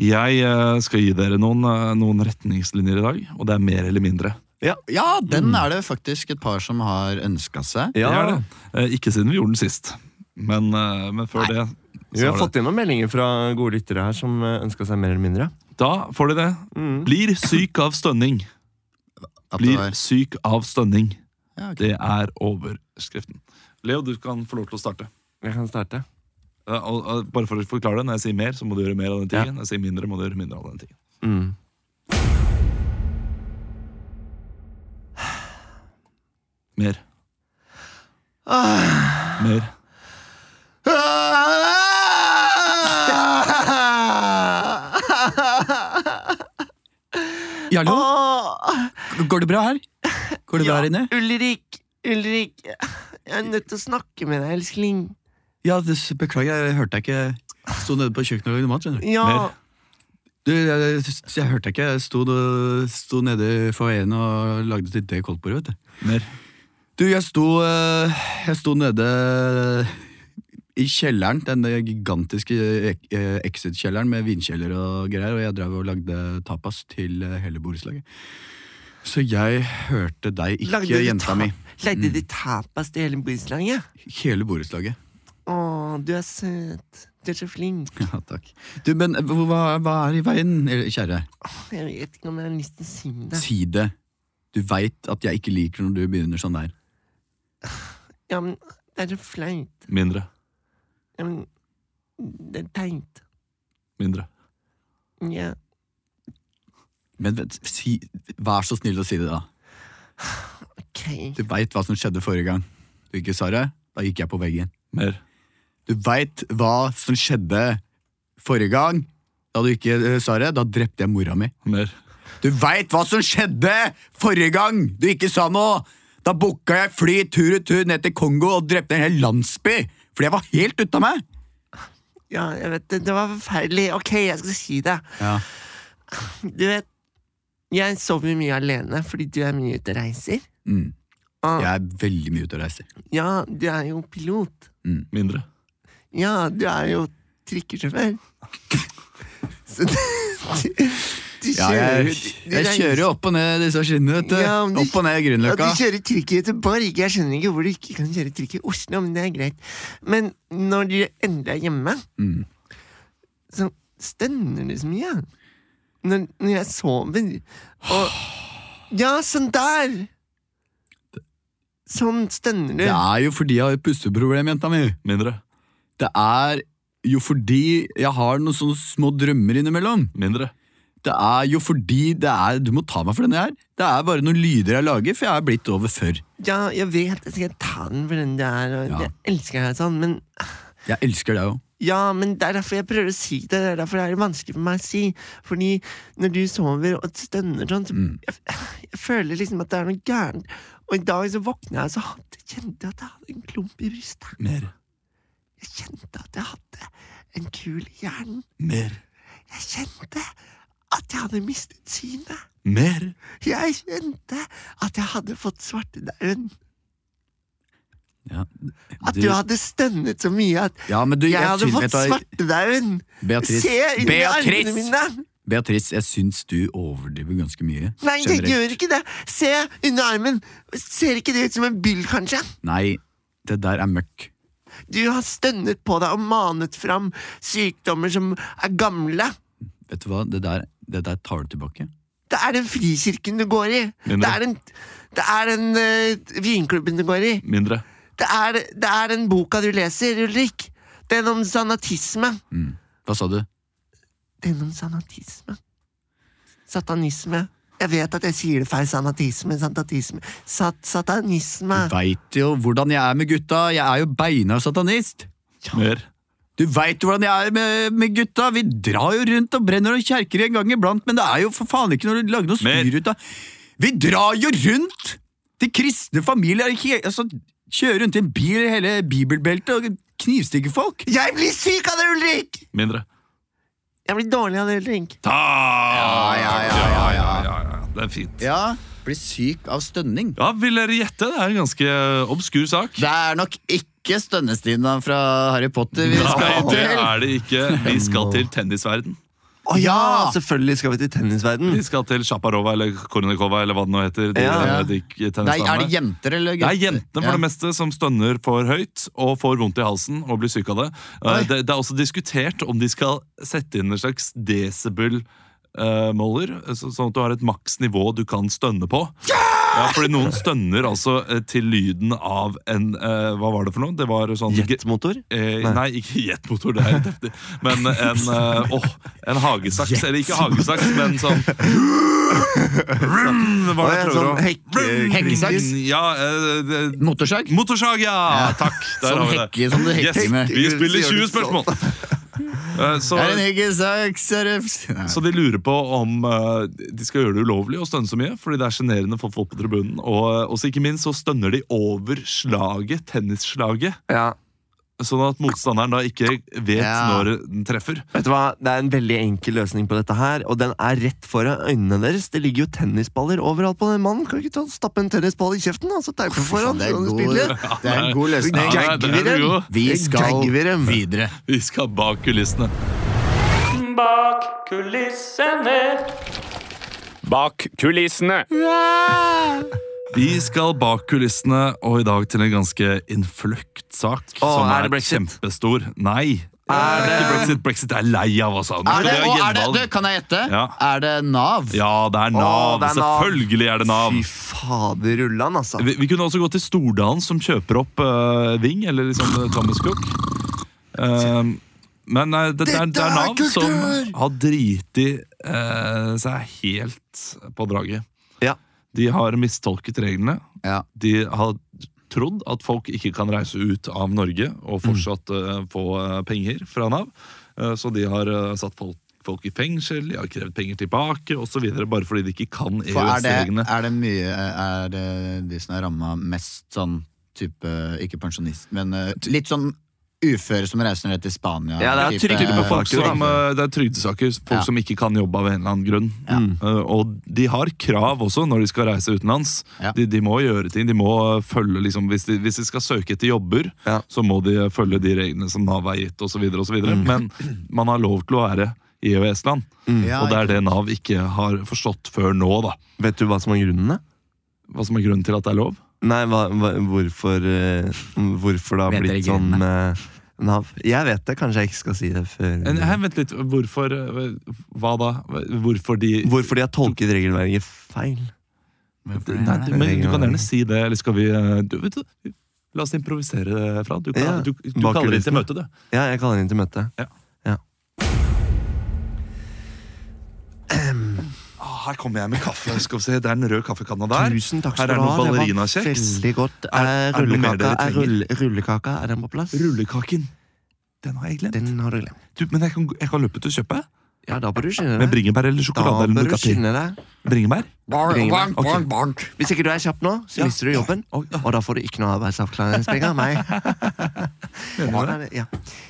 A: Jeg eh, skal gi dere noen, eh, noen retningslinjer i dag, og det er mer eller mindre.
C: Ja, den
A: Mm.
C: er det faktisk et par som har ønska seg.
A: Det
B: Ja,
A: er det. Eh, Ikke siden vi gjorde den sist, men, eh, men før det
B: Vi
A: så
B: har
A: er det.
B: fått inn noen meldinger fra gode lyttere her som ønska seg mer eller mindre.
A: Da får de det.
B: Mm.
A: Blir syk av stønning.
C: At det
A: Blir
C: var,
A: syk av stønning.
C: ja, ok.
A: Det er overskriften. Leo, du kan få lov til å starte.
B: Jeg kan starte.
A: Eh, og, og bare for å forklare det, Når jeg sier mer, så må du gjøre mer av den tingen. Når jeg sier mindre, må du gjøre mindre av den tingen.
B: Mm.
A: Mer. Mer.
C: Jarlo,
B: Åh,
C: går det bra her? Går det bra
B: ja,
C: her inne?
B: Ulrik, Ulrik, jeg er nødt til å snakke med deg, elskling.
C: Ja, det, beklager, jeg hørte deg ikke Sto nede på kjøkkenet og lagde mat. skjønner du.
B: Ja,
A: Mer.
C: Du, jeg, jeg, jeg hørte deg ikke. Jeg sto, sto nede i foajeen og lagde til det koldtbordet. vet du.
A: Mer.
C: Du, jeg sto, eh, jeg sto nede i kjelleren, den gigantiske ek- eh, Exit-kjelleren med vinkjeller og greier, og jeg drev og lagde tapas til eh, hele borettslaget. Så jeg hørte deg ikke,
B: Lagde de
C: jenta
B: ta-
C: mi.
B: Lagde de tapas til hele borettslaget?
C: Hele borettslaget.
B: Å, du er søt. Du er så flink.
C: Ja, takk. Du, men eh, hva, hva er i veien, eh, kjære?
B: Åh, Jeg vet ikke om jeg har lyst til å si det.
C: Si det. Du veit at jeg ikke liker når du begynner sånn der.
B: Ja, men det er så flaut.
A: Mindre.
B: Ja, men det er teit.
A: Mindre.
B: Ja.
C: Men vet- si, vær så snill å si det, da.
B: Ok.
C: Du veit hva som skjedde forrige gang. Du ikke sa det? Da gikk jeg på veggen.
A: Mer.
C: Du veit hva som skjedde forrige gang? Da du ikke eh, sa det, da drepte jeg mora mi.
A: Mer.
C: Du veit hva som skjedde forrige gang du ikke sa noe! Da booka jeg fly tur-retur ned til Kongo og drepte en hel landsby! Fordi jeg var helt ute av meg!
B: Ja, jeg vet det. Det var forferdelig. Ok, jeg skal si det.
C: Ja.
B: Du vet, jeg sover mye alene fordi du er mye ute og reiser.
C: Mm.
B: Ah.
C: Jeg er veldig mye ute og reiser.
B: Ja, du er jo pilot.
A: Mindre.
B: Ja, du er jo trikkesjåfør. Så du, du, du
C: Ja, jeg,
B: du- du
C: jeg
B: reiser-
C: kjører jo opp og ned disse skinnene, vet du.
B: Ja, men du-
C: Opp og ned
B: At
C: Grünerløkka.
B: du kjører trikk i Göteborg. Jeg skjønner ikke hvor du ikke kan kjøre trikk i Oslo, men det er greit. Men når du endelig er hjemme,
C: Mm.
B: så stønner du så mye. Når, når jeg sover og Ja, sånn der! Sånn stønner du.
C: Det er jo fordi jeg har et pusteproblem, jenta mi.
A: Mindre.
C: Det er jo fordi jeg har noen sånne små drømmer innimellom.
A: Mindre.
C: Det er jo fordi det er Du må ta meg for denne her. Det er bare noen lyder jeg lager, for jeg er blitt over før.
B: Ja, jeg vet jeg skal ta den for den det er, og
C: Ja.
B: jeg elsker deg sånn, men
C: Jeg elsker deg jo.
B: Ja, men det er derfor jeg prøver å si det. Det er derfor det er vanskelig for meg å si. Fordi når du sover og stønner sånn, så
C: Mm.
B: jeg, jeg føler liksom at det er noe gærent. Og i dag så våkna jeg og så hadde, kjente jeg at jeg hadde en klump i brystet.
A: Mer.
B: Jeg kjente at jeg hadde en kul i hjernen.
A: Mer.
B: Jeg kjente at jeg hadde mistet synet.
A: Mer.
B: Jeg kjente at jeg hadde fått svartedauden.
C: Ja,
B: At du hadde stønnet så mye at
C: ja, men du,
B: jeg hadde
C: syns- vet
B: fått
C: du hva,
B: svartedauden! Se
C: Beatrice,
B: inn i armene
C: Beatrice,
B: mine!
C: Beatrice, jeg syns du overdriver ganske mye.
B: Nei, jeg
C: generelt.
B: gjør ikke det. Se under armen. Ser ikke det ut som en byll, kanskje?
C: Nei, det der er møkk.
B: Du har stønnet på deg og manet fram sykdommer som er gamle.
C: Vet du hva, det der, det der tar du tilbake.
B: Det er den frikirken du går i.
A: Mindre.
B: Det er den, det er den eh, vinklubben du går i.
A: Mindre.
B: Det er, det er den boka du leser, Ulrik. Den om sanatisme.
C: Mm. Hva sa du?
B: Den om sanatisme. Satanisme. Jeg vet at jeg sier det feil. Sanatisme, satanisme Sat Satanisme.
C: Du veit jo hvordan jeg er med gutta. Jeg er jo beina satanist.
A: Mer.
C: Du veit hvordan jeg er med, med gutta. Vi drar jo rundt og brenner noen kjerker en gang iblant, men det er jo for faen ikke noe å lage noe
A: Mer.
C: styr ut av. Vi drar jo rundt til kristne familier. he- Altså, kjører rundt i en bil i hele bibelbeltet og knivstikker folk.
B: Jeg blir syk av det, Ulrik!
A: Mindre.
B: Jeg blir dårlig av det, Ulrik.
A: Ta! Ja,
C: ja, ja, ja, ja.
A: Det er fint.
C: Ja, blir syk av stønning.
A: Ja, vil dere gjette? Det er en ganske obskur sak.
C: Det er nok ikke stønnestina fra Harry Potter vi
A: Nei, det er det ikke. Vi skal til tennisverden.
B: Å
C: Ja!
B: selvfølgelig skal vi til tennisverden.
A: Vi skal til Sjaparova eller Kornikova eller hva det nå heter. De,
B: Ja.
A: de tennisdamene.
C: jenter eller
A: Det er jentene for
C: Ja.
A: det meste som stønner for høyt og får vondt i halsen og blir syke av det. Eh,
C: Oi.
A: Det, det er også diskutert om de skal sette inn en slags eh, decibel-måler, sånn at du har et maksnivå du kan stønne på. Ja, fordi noen stønner altså eh, til lyden av en eh, Hva var det for noe? Det var sånn
B: Jetmotor?
A: Eh,
B: Nei.
A: nei. ikke jetmotor, det er helt heftig. Men en, eh, åh, en hagesaks. Eller ikke hagesaks, men sånn Vroom, var det
B: Å,
A: jeg
B: ja,
A: prøver å-
B: sånn hekk-
A: Vroom.
C: hekkesaks?
A: Ja, eh, det-
C: Motorsag?
A: Motorsag, ja! Takk. Der
C: Sånn
A: har vi det.
C: hekke som du hekker
A: Yes,
C: med.
A: vi spiller
B: Sier du
A: 20 spørsmål! Eh,
C: Det er en
A: Så,
C: hekkesaks er det- Nei.
A: så de lurer på om eh, de skal gjøre det ulovlig å stønne så mye, fordi det er sjenerende for folk på tribunen. Og eh, også ikke minst så stønner de over slaget, tennisslaget.
B: Ja.
A: Sånn at motstanderen da ikke vet
C: Ja.
A: når den treffer.
B: Vet du hva? Det er en veldig enkel løsning på dette her, og den er rett foran øynene deres. Det ligger jo tennisballer overalt på den mannen. Kan ikke ta stappe en tennisball i kjeften, altså teipe foran?
C: Faen, det, er
B: sånn
C: god,
B: spille.
C: det er en god løsning.
A: Ja,
B: Gagger vi
A: den er
B: dem?
A: god.
C: Vi skal
B: Gagger vi dem?
C: videre.
A: Vi skal bak kulissene.
D: Bak kulissene.
E: Bak kulissene.
A: Vi skal bak kulissene, og i dag til en ganske innfløkt sak. som
B: er
A: er,
B: det Brexit?
A: kjempestor. Nei. Er det Brexit? Brexit er lei av, altså. Nå skal
C: Er det,
A: de ha
C: og er det,
A: gjenvalg.
C: du, kan jeg gjette?
A: Ja.
C: Er det Nav?
A: Ja, det er
B: Å,
A: Nav.
B: det er Nav.
A: Selvfølgelig er det Nav.
B: Fy fader, Ulland, altså.
A: Vi, vi kunne også gått til Stordalen, som kjøper opp eh, Ving, eller liksom eh, Thomas Cook. Ehm, men nei, det, det, er, det
B: Dette
A: er
B: er
A: Nav som
B: kultur!
A: har driti eh, seg helt på draget.
B: Ja.
A: De har mistolket reglene.
C: Ja.
A: De har trodd at folk ikke kan reise ut av Norge og fortsatt eh, få eh, penger fra Nav. Eh, så de har eh, satt folk, folk i fengsel, de har krevd penger tilbake osv. Bare fordi de ikke kan
C: For er det,
A: EØS-reglene.
C: er det mye Er det de som er ramma mest sånn type Ikke pensjonist, men eh, litt sånn uføre som reiser ned til Spania?
B: Ja, det er
C: type-
B: trygge
A: Type folk
B: saker,
A: som, eh, det er trygdesaker. Folk
C: Ja.
A: som ikke kan jobbe av en eller annen grunn. Eh, Og de har krav også når de skal reise utenlands.
C: Ja.
A: De, de må gjøre ting. De må eh, følge, liksom, hvis, de, hvis de skal søke etter jobber,
B: Ja.
A: så må de eh, følge de reglene som Nav har gitt osv. videre Men man har lov til å være i EØS-land,
C: Ja,
A: og det er det Nav ikke har forstått før nå. da
B: Vet du hva som er grunnene?
A: Hva som er grunnen til at det er lov?
B: Nei, hva, hva, hvorfor, eh, hvorfor det har
C: Vet dere
B: blitt sånn eh, Nav? Jeg vet det, kanskje jeg ikke skal si det før
A: En- her, vent litt, hvorfor eh, Hva da? Hvorfor de
B: Hvorfor de har tolket regelverket feil.
C: Hvorfor
A: Nei,
C: er
A: du,
C: det?
A: men du kan gjerne si det, eller skal vi eh, du, vet du, La oss improvisere, Fran. Du, kan,
B: Ja,
A: du, du
B: bak
A: kaller inn til
B: kulissene.
A: møte, du.
B: Ja, jeg kaller inn til møte.
A: Ja. Ah, her kommer jeg med kaffe. Skal vi se, Det er den røde kaffekanna der.
B: Tusen takk
A: Her
B: skal
A: er
B: du ha.
A: noen
B: det var
A: ballerinakjeks.
B: Veldig godt.
A: Er-
B: Er,
A: er det noe mer
B: rullekaka,
A: dere
B: er,
A: trenger?
B: rull, rullekaka, er den på plass?
A: Rullekaken. Den har jeg glemt.
B: Den har du glemt.
A: Du, men jeg kan, jeg kan løpe ut og kjøpe.
B: Ja, da bør du skynde
A: Med
B: deg.
A: bringebær eller
B: Da
A: sjokolade eller
B: bør du
A: Ducati.
B: skynde deg.
A: Bringebær?
B: Bring meg.
A: Ok.
B: Hvis ikke du er kjapp nå, så
A: Ja.
B: mister du jobben.
A: Oi, ja.
B: Og da får du ikke noe arbeidsavklaringspenger av meg. Ja, det er det, ja.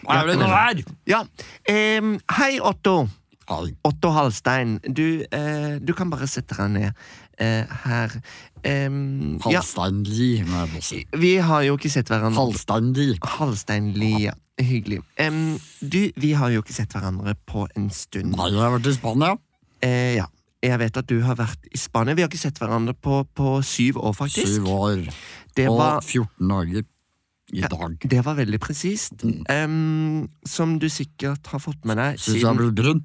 E: Hva er det nå her?
B: ja. Em, hei, Otto.
C: Hei.
B: Otto Halstein. Du, eh, du kan bare sette deg ned eh, her. Em, ja,
C: Halvstandig, må jeg bare si.
B: vi har jo ikke sett hverandre
C: Halvstandig.
B: Halstein Lia. Hyggelig. Em, du, vi har jo ikke sett hverandre på en stund.
C: Nei, jeg har vært i Spania.
B: Eh, ja. Jeg vet at du har vært i Spania. Vi har ikke sett hverandre på, på syv år, faktisk.
C: Syv år
B: Det
C: og
B: var,
C: 14 dager i dag.
B: det var veldig presist.
A: Mm.
B: Em, som du sikkert har fått med deg
C: Syns jeg har
B: siden
C: blitt brun.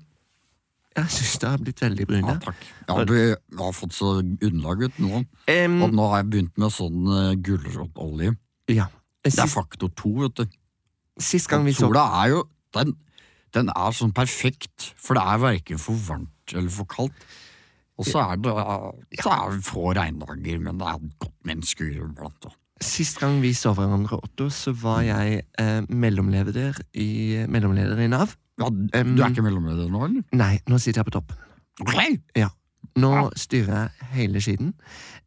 B: Jeg syns det har blitt veldig brun.
C: Ja,
B: Ja.
C: takk. Jeg har, blitt, jeg har fått så underlag ut nå.
B: Em,
C: Og nå har jeg begynt med sånn uh, gulrotolje.
B: ja.
C: Det er
B: Sist,
C: faktor to, vet du.
B: sist gang vi så
C: Sola er jo den, den er sånn perfekt, for det er verken for varmt eller for kaldt. Og så er det, så er det få regndager, men det er godt med en skur iblant. da.
B: Sist gang vi så hverandre, Otto, så var jeg eh, mellomleder, i, mellomleder i Nav.
C: Ja,
B: Em.
C: du er ikke mellomleder nå, eller?
B: Nei, nå sitter jeg på toppen.
C: Ok,
B: Ja. Nå styrer jeg hele skiden.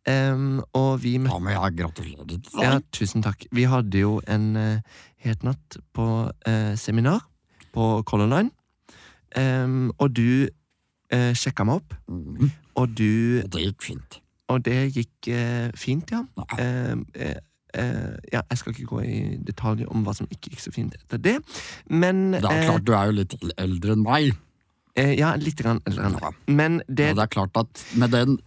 B: Em, og vi møtte
C: Da må jeg gratulere deg.
B: Ja, tusen takk. Vi hadde jo en eh, het natt på eh, seminar på Color Line. Em, og du eh, sjekka meg opp,
C: Mm,
B: og du
C: og det gikk fint.
B: Og det gikk eh, fint, ja.
C: Ja.
B: Eh, eh, eh, ja. Jeg skal ikke gå i detalj om hva som ikke gikk så fint etter det, men
C: Det er
B: eh,
C: klart, du er jo litt eldre enn meg.
B: eh, Ja, litt. Grann, eller, annet.
C: Ja.
B: Men det
C: Og det er klart at med den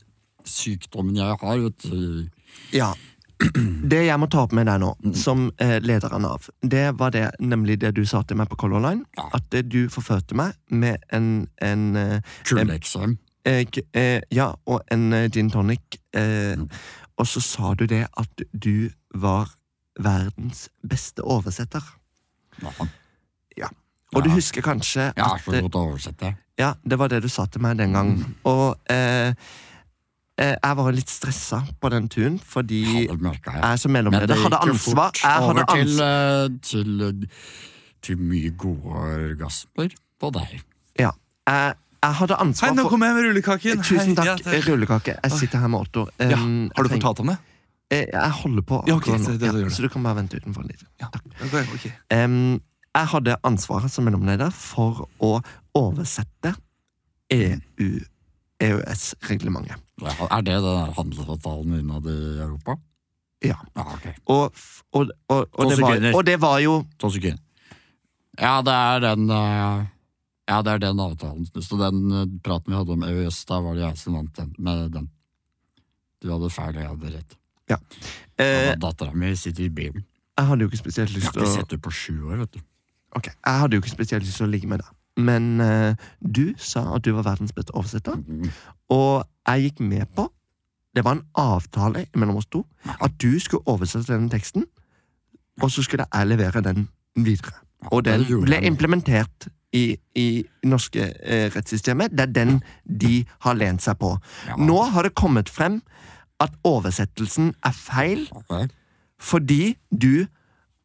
C: sykdommen jeg har, vet du
B: Ja. Det jeg må ta opp med deg nå,
C: Mm.
B: som eh, leder av Nav, det var det, nemlig det du sa til meg på Color Line.
C: Ja.
B: At eh, du forførte meg med en, en eh,
C: Kulleksem.
B: eh, k- eh, Ja, og en eh, gin tonic. Eh,
C: Mm.
B: og så sa du det at du var verdens beste oversetter.
C: Ja,
B: Og du
C: Ja.
B: husker kanskje
C: jeg er
B: at
C: så
B: eh,
C: godt å oversette.
B: Ja, det var det du sa til meg den gangen.
C: Mm.
B: Og eh, eh, jeg var litt stressa på den turen, fordi
C: Ja, det merket jeg.
B: jeg som
C: Men det
B: mellomleder hadde
C: gikk jo
B: ansvar.
C: fort
B: Jeg hadde
C: over til,
B: ansvar.
C: eh, til, eh, til mye gode orgasmer på deg.
B: Ja. Jeg, jeg hadde ansvar for Eh,
A: kommer jeg med rullekaken!
B: Tusen
A: Hei, ja,
B: takk, rullekake. Jeg sitter her med Otto. Um,
A: Ja, Har
B: jeg
A: du
B: treng-
A: fortalt ham det?
B: Eh, Jeg holder på
A: Ja, ok,
B: akkurat
A: så
B: nå.
A: det- det gjør det.
B: så du kan bare vente utenfor litt. Takk.
A: Ok, ok.
B: Em, jeg hadde ansvaret som mellomleder for å oversette E EU, EØS-reglementet.
C: Er det den der handelsavtalen innad i Europa?
B: Ja.
C: Ja, ok.
B: Og, f- og, og, og,
C: To
B: det var,
C: sekunder.
B: og det var jo
C: To sekunder. Ja, det er den eh, Ja, det er den avtalen. Så den eh, praten vi hadde om EØS, da var det jeg som vant den, med den. Du hadde feil, og jeg hadde rett.
B: eh,
C: Dattera mi sitter i bilen.
B: Jeg hadde jo ikke spesielt
C: Jeg
B: lyst
C: har
B: til
C: ikke
B: å
C: sett henne på sju år, vet du.
B: Ok, Jeg hadde jo ikke spesielt lyst til å ligge med deg. Men eh, du sa at du var verdens beste oversetter,
C: Mm.
B: og jeg gikk med på Det var en avtale mellom oss to at du skulle oversette denne teksten, og så skulle jeg levere den videre. Og den
C: det gjorde
B: ble
C: jeg.
B: implementert i, i norske eh, rettssystemet. Det er den de har lent seg på.
C: Ja.
B: Nå har det kommet frem at oversettelsen er feil
C: Ok.
B: fordi du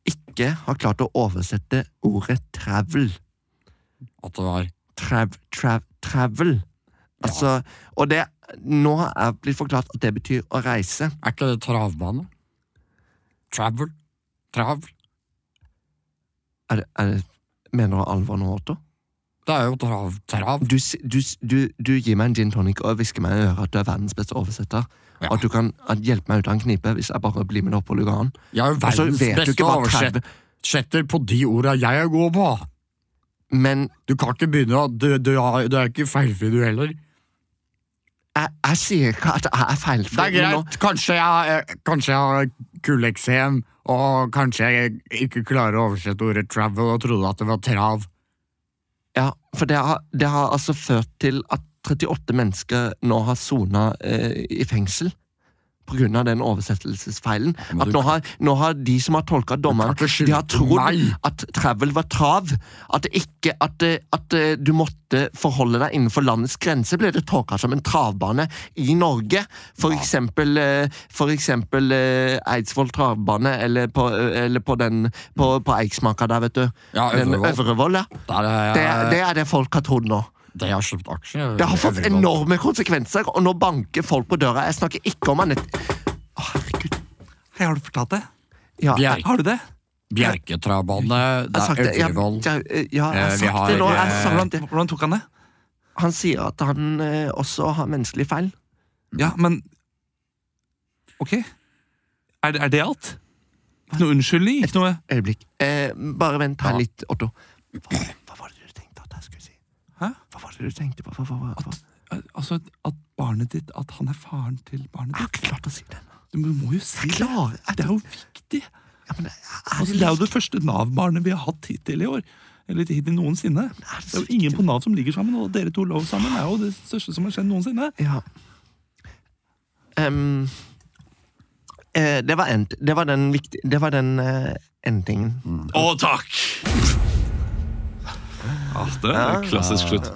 B: ikke har klart å oversette ordet travel.
C: At det var
B: Trav, trav, travel. Altså, og det Nå har jeg blitt forklart at det betyr å reise.
C: Er ikke det travbane? Travel? Travel?
B: Er, det- er, det- mener du alvor nå, Otto?
C: Det er jo trav. trav.
B: Du, s- du, s- du, du gir meg en gin tonic og hvisker meg i øret at du er verdens beste oversetter.
C: Ja.
B: Og at du kan at hjelpe meg ut av en knipe hvis jeg bare blir med deg opp på Lugaren.
C: Jeg er jo
B: Og så
C: verdens
B: Altså, vet du
C: beste
B: ikke hva trav-
C: oversetter på de orda jeg er god på.
B: Men
C: Du kan ikke begynne å Du, du, har- du er ikke feilfri, du heller.
B: jeg, jeg sier ikke at jeg er feilfri.
C: Det er
B: men nå-
C: greit. Kanskje jeg, eh, kanskje jeg har kuleksem, og kanskje jeg ikke klarer å oversette ordet travel og trodde at det var trav.
B: Ja, for det har, det har altså ført til at 38 mennesker nå har sona eh, i fengsel. På grunn av den oversettelsesfeilen.
C: men
B: At
C: du-
B: nå har, nå har de som har tolka dommeren,
C: kan ikke skylde
B: de har
C: på
B: trodd
C: meg.
B: at travel var trav. At, det ikke, at, eh, at eh, du måtte forholde deg innenfor landets grenser, ble det tolka som en travbane i Norge. For eksempel, eh, for eksempel eh, Eidsvoll travbane, eller på, eh, eller på den på, på Eiksmarka der, vet du.
C: Ja,
B: Den
C: Øvrevoll.
B: Øvrevoll, ja.
C: Der er
B: Det,
C: jeg,
B: er- det
C: det,
B: er det folk har trodd nå.
C: har kjøpt aksjer.
B: Det har fått
C: Jeg vet ikke.
B: enorme konsekvenser, og nå banker folk på døra. Jeg snakker ikke om Anette. Å, herregud.
A: Hei, har du fortalt det?
B: Ja, jeg,
C: Bjerk,
A: Har du det?
C: Bjerketrabane,
B: jeg
C: det
B: har sagt
C: er
B: det. Jeg,
C: Øvrevoll.
B: jeg, ja, jeg
C: Eh,
B: har
C: vi
B: sagt det
C: har,
B: nå. Jeg har
C: eh,
B: sagt det.
A: Hvordan, hvordan tok han det?
B: Han sier at han eh, også har menneskelige feil.
A: Ja, men Ok. Er, det- er det alt? Ikke noe unnskyldning? Ikke noe
B: Øyeblikk. Eh, bare vent her
C: Ja.
B: litt, Otto. Hva, hva var det du tenkte at jeg skulle si?
A: Hæ?
B: Hva var det du tenkte på? Hva, hva, hva, hva?
A: Altså, At barnet ditt At han er faren til barnet
B: Jeg har ikke klart å si Ah, det ennå.
A: Du må jo si det.
B: Klarer jeg
A: Det er jo viktig.
B: Ja, men er
A: Altså,
B: det
A: det er jo
B: like-
A: det første Nav-barnet vi har hatt hittil i år. Eller hittil noensinne.
B: er det
A: Det er
B: så
A: jo ingen
B: viktig?
A: på Nav som ligger sammen, og dere to lå sammen. er jo det største som har skjedd noensinne.
B: Ja. Em, eh, det var en, Det var den viktige Det var den eh, endingen.
A: Å, takk!
B: Ah,
A: Ja, det er klassisk slutt.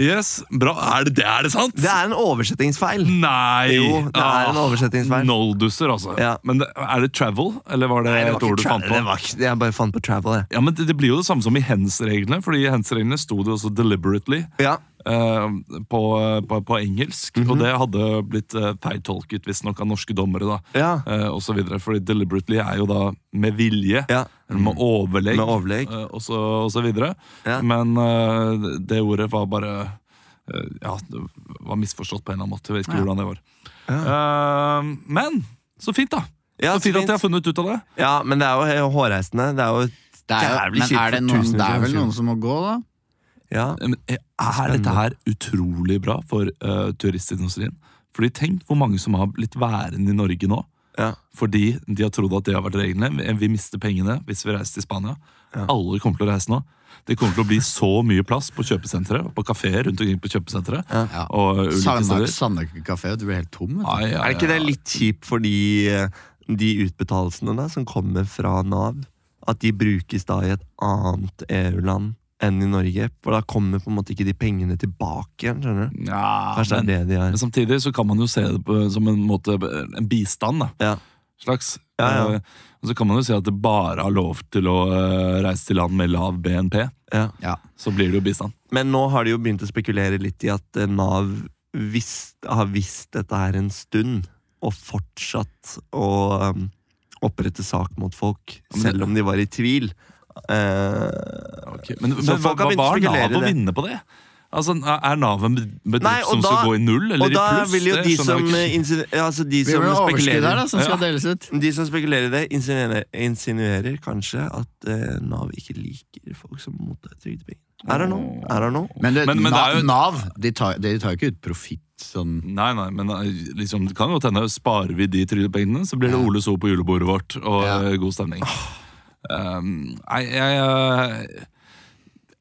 A: Yes, bra. Er det, er det sant?
B: Det er en oversettingsfeil.
A: Nei!
B: Jo, det er en
A: Ah,
B: oversettingsfeil.
A: Nolduser, altså.
B: Ja.
A: Men det, er det travel, eller var det,
B: Nei, det var
A: et ord du
B: ikke
A: fant
B: tra-
A: på?
B: det var ikke- Jeg bare fant på travel, jeg.
A: Ja, men det, det blir jo det samme som i hens-reglene, fordi i hens-reglene sto det også 'deliberately'
B: Ja. Mhm.
A: eh, på, på, på engelsk, og det hadde blitt eh, feiltolket visstnok av norske dommere, da.
B: Ja.
A: Eh, og så videre, fordi 'deliberately' er jo da med vilje,
B: Ja. Mm.
A: eller med overlegg,
B: Med overlegg.
A: eh, og, så, og så videre.
B: Ja.
A: Men eh, det ordet var bare eh, Ja, det var misforstått på en eller annen måte. Jeg vet ikke hvordan det var. Eh, men så fint, da!
B: Ja,
A: så
B: så
A: fint, at
B: fint.
A: jeg har funnet ut av det.
B: ja, men det er jo he- hårreisende. Det er jo
C: Det er,
B: Jævlig
C: jo- men
B: kjipt
C: er det,
B: for
C: noen,
B: tusen
C: det er vel
B: kroner.
C: noen som må gå, da?
B: ja.
A: Eh, Men er er dette her utrolig bra for eh, turistindustrien? Fordi tenk hvor mange som har blitt værende i Norge nå.
B: Ja.
A: Fordi de har trodd at det har vært reglene. Vi- Vi mister pengene hvis vi reiser til Spania. Alle kommer til å reise nå. Det kommer til å bli så mye plass på kjøpesentre, på kafeer rundt omkring på kjøpesentre.
C: Ja.
A: Og ulike steder.
C: Sandnak- Sandnakke kafé, du blir helt tom. Vet du.
A: Ai, ai,
B: Er ikke
A: ai.
B: det litt kjipt for de, eh, de utbetalelsene der som kommer fra Nav? At de brukes da i et annet EU-land enn i Norge? For da kommer på en måte ikke de pengene tilbake igjen, skjønner du?
A: Ja,
B: Kanskje
A: men,
B: det er det de
A: men
B: har.
A: samtidig så kan man jo se det på, eh, som en måte en bistand, da.
B: Ja.
A: Slags.
B: Ja, ja.
A: Eh, Og så kan man jo si at det bare har lov til å eh, reise til land med lav BNP.
B: Ja.
C: Ja.
A: Så blir det jo bistand.
B: Men nå har de jo begynt å spekulere litt i at eh, Nav visst, har visst dette her en stund. og fortsatt å um, opprette sak mot folk, selv om de var i tvil. Eh,
A: Men,
B: Så
A: men hva,
B: folk
A: hva
B: har begynt å
A: har
B: spekulere i
A: Nav å
B: det.
A: vinne på det? Altså, Er Nav en bedrift
B: Nei, og
A: som
B: da-
A: skal gå i null eller
B: og da
A: i pluss?
B: vil jo
A: Det
B: de
A: skjønner jeg
B: som,
A: ikke.
B: eh, insinu- ja, altså de
C: Vi har
B: som
C: noe overskudd her
B: spekulerer
C: da, som skal
A: Ja.
C: deles ut.
B: de som spekulerer i det, insinuerer, insinuerer kanskje at eh, Nav ikke liker folk som mottar trygdepenger. Er det noe? Er det noe?
C: Men, det,
A: Men- men det
C: Nav,
A: er jo-
C: Nav de, tar, de tar jo ikke ut profitt sånn
A: Nei, nei, men eh, liksom, det kan jo hende sparer vi de trygdepengene, så blir det Ole So på julebordet vårt og
C: Ja.
A: eh, god stemning. Um, Nei, jeg eh,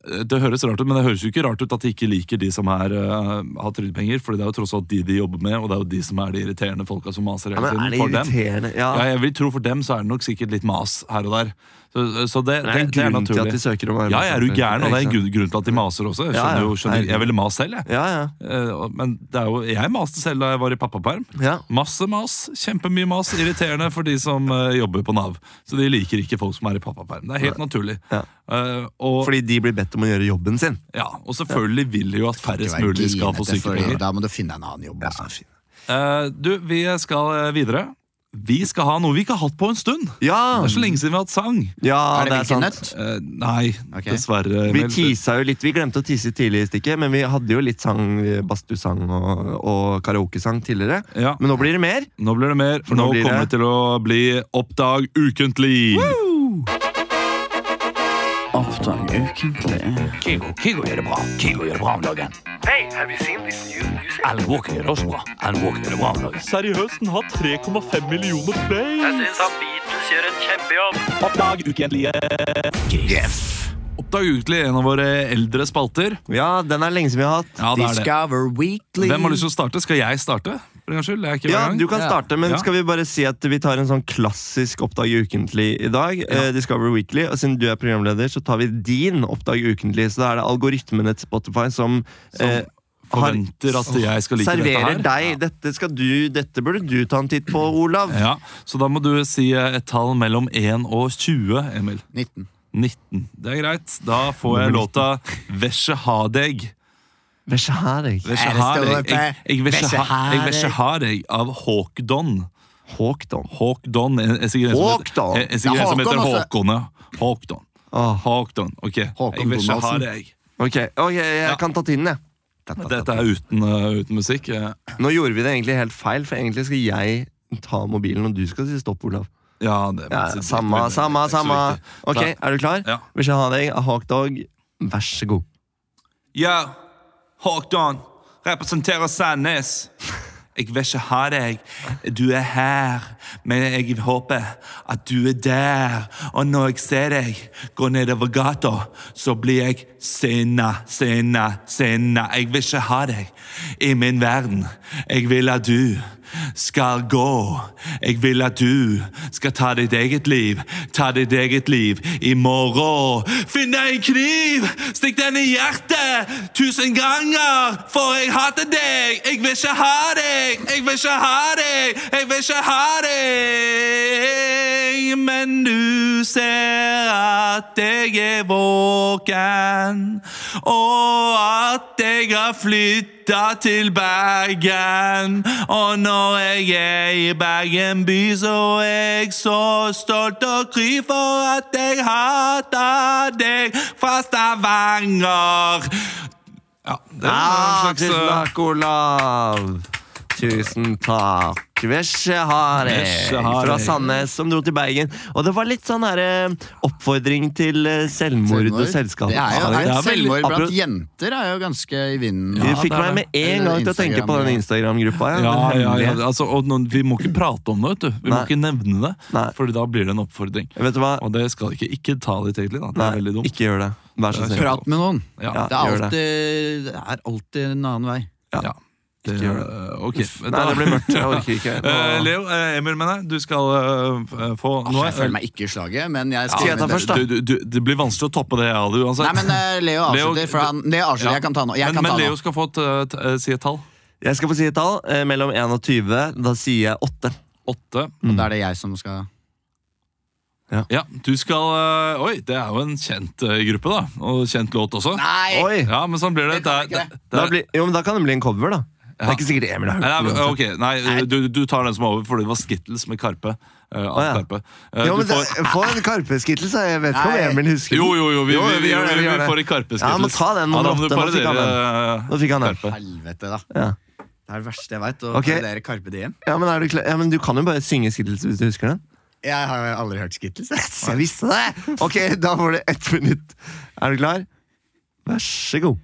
A: Det høres rart ut, men det høres jo ikke rart ut at de ikke liker de som er, eh, har trygdepenger, Fordi det er jo tross alt de de jobber med, og det er jo de som er de irriterende folka som maser
B: Ja,
A: hele
B: men er
A: tiden.
B: det
A: for dem.
B: irriterende? Ja.
A: Ja, jeg vil tro for dem så er det nok sikkert litt mas her og der. Så, så det,
B: Det er en
A: det, det er
B: grunn til at
A: naturlig.
B: de søker om
A: Ja, jeg er jo gæren, og det er en
B: ikke sant?
A: grunn, grunn til at de maser også. Jeg,
B: Ja, ja.
A: skjønner jo, skjønner,
B: Nei.
A: jeg ville mast selv, jeg.
B: Ja, ja.
A: Eh, og- Men det er jo, jeg maste selv da jeg var i pappaperm.
B: ja.
A: Masse mas, kjempemye mas. Irriterende for de som eh, jobber på Nav. Så de liker ikke folk som er i pappaperm. Det er helt naturlig.
B: Ja.
A: Eh, og,
B: Fordi de blir bedt om å gjøre jobben sin.
A: ja, og selvfølgelig vil de jo at færrest
C: Ikke være
A: mulig skal få
C: grinete, for
A: sykepenger.
C: Da må du finne deg en annen jobb. altså.
A: Eh, Du, vi skal eh, videre. Vi skal ha noe vi ikke har hatt på en stund.
B: Ja,
A: Det er så lenge siden vi har hatt sang.
B: ja
C: er
B: det
C: det
B: er sant.
C: Nøtt?
A: Eh, nei,
C: Ok.
A: dessverre.
B: Vi
A: Emil.
B: tisa jo litt, vi glemte å tise tidlig i stikket, men vi hadde jo litt sang, badstusang og, og karaokesang tidligere.
A: Ja,
B: Men nå blir det mer.
A: nå blir det mer, for
B: Nå
A: nå,
B: blir
A: kommer
B: det-
A: det til å bli Oppdag ukentlig.
E: Kigo, Kigo gjør det bra. Kigo gjør det bra om dagen. Alan Walker gjør det også bra. Alan Walker gjør det bra om dagen.
D: Seriøst, den har 3,5 millioner play. Jeg syns han Beatles gjør en kjempejobb.
A: Oppdag ukentlig, en av våre eldre spalter.
B: Ja, den er lenge siden vi har hatt.
A: Ja, det er det.
C: Discover Weekly.
A: Hvem har lyst til å starte? Skal jeg starte? For en gangs skyld, jeg er ikke
B: Ja,
A: hver gang.
B: du kan
C: Ja.
B: starte, men
A: Ja.
B: skal vi bare si at vi tar en sånn klassisk Oppdag ukentlig i dag? eh, Discover Weekly. Og siden du er programleder, så tar vi din Oppdag ukentlig. Så da er det algoritmene til Spotify som, eh,
A: Forventer at jeg skal like
B: serverer
A: dette her.
B: deg. Dette, skal du, dette burde du ta en titt på, Olav.
A: Ja, så da må du si eh, et tall mellom 1 og 20, Emil.
C: 19.
A: 19. Det er greit. Da får jeg låta Vesje ha deg.
B: Vær så her, jeg.
A: Vesje
C: Er det
A: ha deg.
C: stående?
A: Jeg, eh, jeg, vesje
C: Vesje
A: ha-
C: ha
A: jeg vesje
C: deg.
A: ha deg av Hawk Don.
B: Håk, da.
A: Hawk Don. En, en sikkert en som heter-
B: Håkdon. altså. Ah.
A: en- en sikkert
C: Ja,
A: en som heter
C: Håkon også.
A: Håkon, ja. Hawk Don.
B: Åh,
A: Hawk Don. Ok.
C: Håkon
A: Jeg vesje ha
C: Donaldsen.
A: deg.
B: Ok, ok, jeg kan ta tiden, jeg.
C: Ta, ta, ta,
A: Dette
C: ta.
A: er uten, eh, uten musikk. eh.
B: Nå gjorde vi det egentlig helt feil, for egentlig skal jeg ta mobilen, og du skal si stopp, Olav.
A: Ja, det
B: Ja,
A: det-
B: samme, samme,
A: det er ikke så
B: samme.
A: viktig.
B: Ok, er du klar?
A: Ja.
B: Hvis jeg har deg, Hawk Dog, vær så god.
A: Ja, Håkon representerer Sandnes. Jeg vil ikke ha deg. Du er her, men jeg håper at du er der. Og når jeg ser deg gå nedover gata, så blir jeg sinna, sinna, sinna. Jeg vil ikke ha deg i min verden. Jeg vil at du skal gå. Jeg vil at du skal ta ditt eget liv. Ta ditt eget liv i morgen. Finn deg en kniv! Stikk den i hjertet tusen ganger, for jeg hater deg. Jeg vil ikke ha deg. Jeg vil ikke ha deg. Jeg vil ikke ha deg. Men du ser at jeg er våken, og at jeg har flyttet flytta til Bergen. Og når jeg er i Bergen by, så er jeg så stolt og kry for at jeg hater deg fra Stavanger. Ja, det
B: Ja,
A: eh,
B: tusen takk, Olav! Tusen takk. Vesje har jeg
A: Vesje har
B: fra
A: jeg.
B: Sandnes som dro til Bergen. Og det var litt sånn her, eh, oppfordring til eh, selvmord og selskap.
C: Det er
B: Ja,
C: jo er jo
B: vel,
C: Selvmord blant
B: apro-
C: jenter er jo ganske i vinden.
B: Du
C: Ja,
B: fikk
A: det er
B: meg
A: det.
B: med en gang til å tenke på den Instagram-gruppa. Ja,
A: Ja,
B: den
A: ja, ja.
B: hemmelige.
A: Altså, og nå, vi må ikke prate om det, vet du. Vi må
B: Nei.
A: ikke nevne det,
B: Nei.
A: for da blir det en oppfordring.
B: Vet du hva?
A: Og det skal ikke Ikke ta det til, da. Det er veldig
B: Nei,
A: dumt.
B: ikke gjør det. Vær så snill.
A: Det er kjempe-
C: Prat med noen.
A: Ja,
C: Det er
B: gjør
C: alltid, det er alltid en annen vei.
A: ja.
B: Ikke gjør det.
A: Ok.
B: Nei, det blir mørkt. Jeg orker ikke.
A: Eh,
B: Nå-
A: Leo, eh, Emil mener jeg, du skal eh, f- eh, få
C: Altså, jeg føler meg ikke i slaget, men jeg skal
B: Skal jeg ta øh, først, da?
A: Du, du, du, det blir vanskelig å toppe det jeg hadde uansett.
C: Nei, men eh, Leo avslutter.
A: Leo-
C: For han, Leo
A: Ja.
C: avslutter, Jeg kan ta nå. Jeg
A: men,
C: kan ta
A: men Leo
C: nå.
A: skal få et, eh, t- eh, si et tall.
B: Jeg skal få si et tall. eh, Mellom 1 og 20. Da sier jeg 8.
A: Åtte.
C: Og da er det jeg som skal
A: Ja, du skal eh, Oi, det er jo en kjent eh, gruppe, da. Og kjent låt også.
C: Nei!
B: Oi!
A: Ja, men sånn blir det.
C: Det kan jeg
A: Det er-
C: ikke.
A: det
B: Da
A: er-
B: blir, jo, men da kan det bli en cover, da. Det er ikke sikkert Emil har hørt
A: Nei,
B: den
A: nei,
B: uansett.
A: ok, nei øh, du, du tar den som er over, for det var Skittles med Karpe. eh, av
B: ja.
A: Karpe. Eh,
B: Jo,
A: du
B: men det,
A: får-
B: få en karpeskittel, så jeg vet ikke om
C: Nei.
B: Emil husker den.
A: jo, jo, jo, vi,
B: Jo,
A: vi,
B: vi
A: vi,
B: gjør det, vi
A: vi
B: gjør det.
A: får en Karpe-Skittles.
B: Ja, men ta den,
A: Ja,
B: nummer
A: da må du
B: åtte, nå fikk han
A: parodiere,
B: Nå fikk han den.
A: Karpe.
C: Helvete, da.
B: Ja.
C: Det er det verste jeg veit. Å
B: Ok.
C: parodiere Carpe Diem.
B: Ja, men, er du klar? ja, men du kan jo bare synge Skittles hvis du husker den.
C: Jeg har jo aldri hørt Skittles. jeg.
B: Jeg visste det! Ok, da får du ett minutt. Er du klar? Vær så god.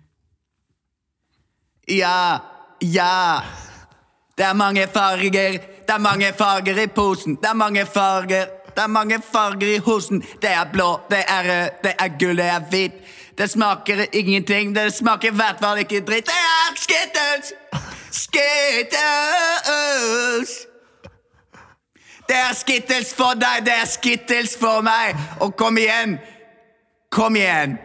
C: Ja, ja. Det er mange farger, det er mange farger i posen. Det er mange farger, det er mange farger i hosen. Det er blå, det er rød, det er gull, det er hvit. Det smaker ingenting, det smaker i hvert fall ikke dritt. Det er Skittles! Skittles! Det er Skittles for deg, det er Skittles for meg. Og kom igjen! Kom igjen!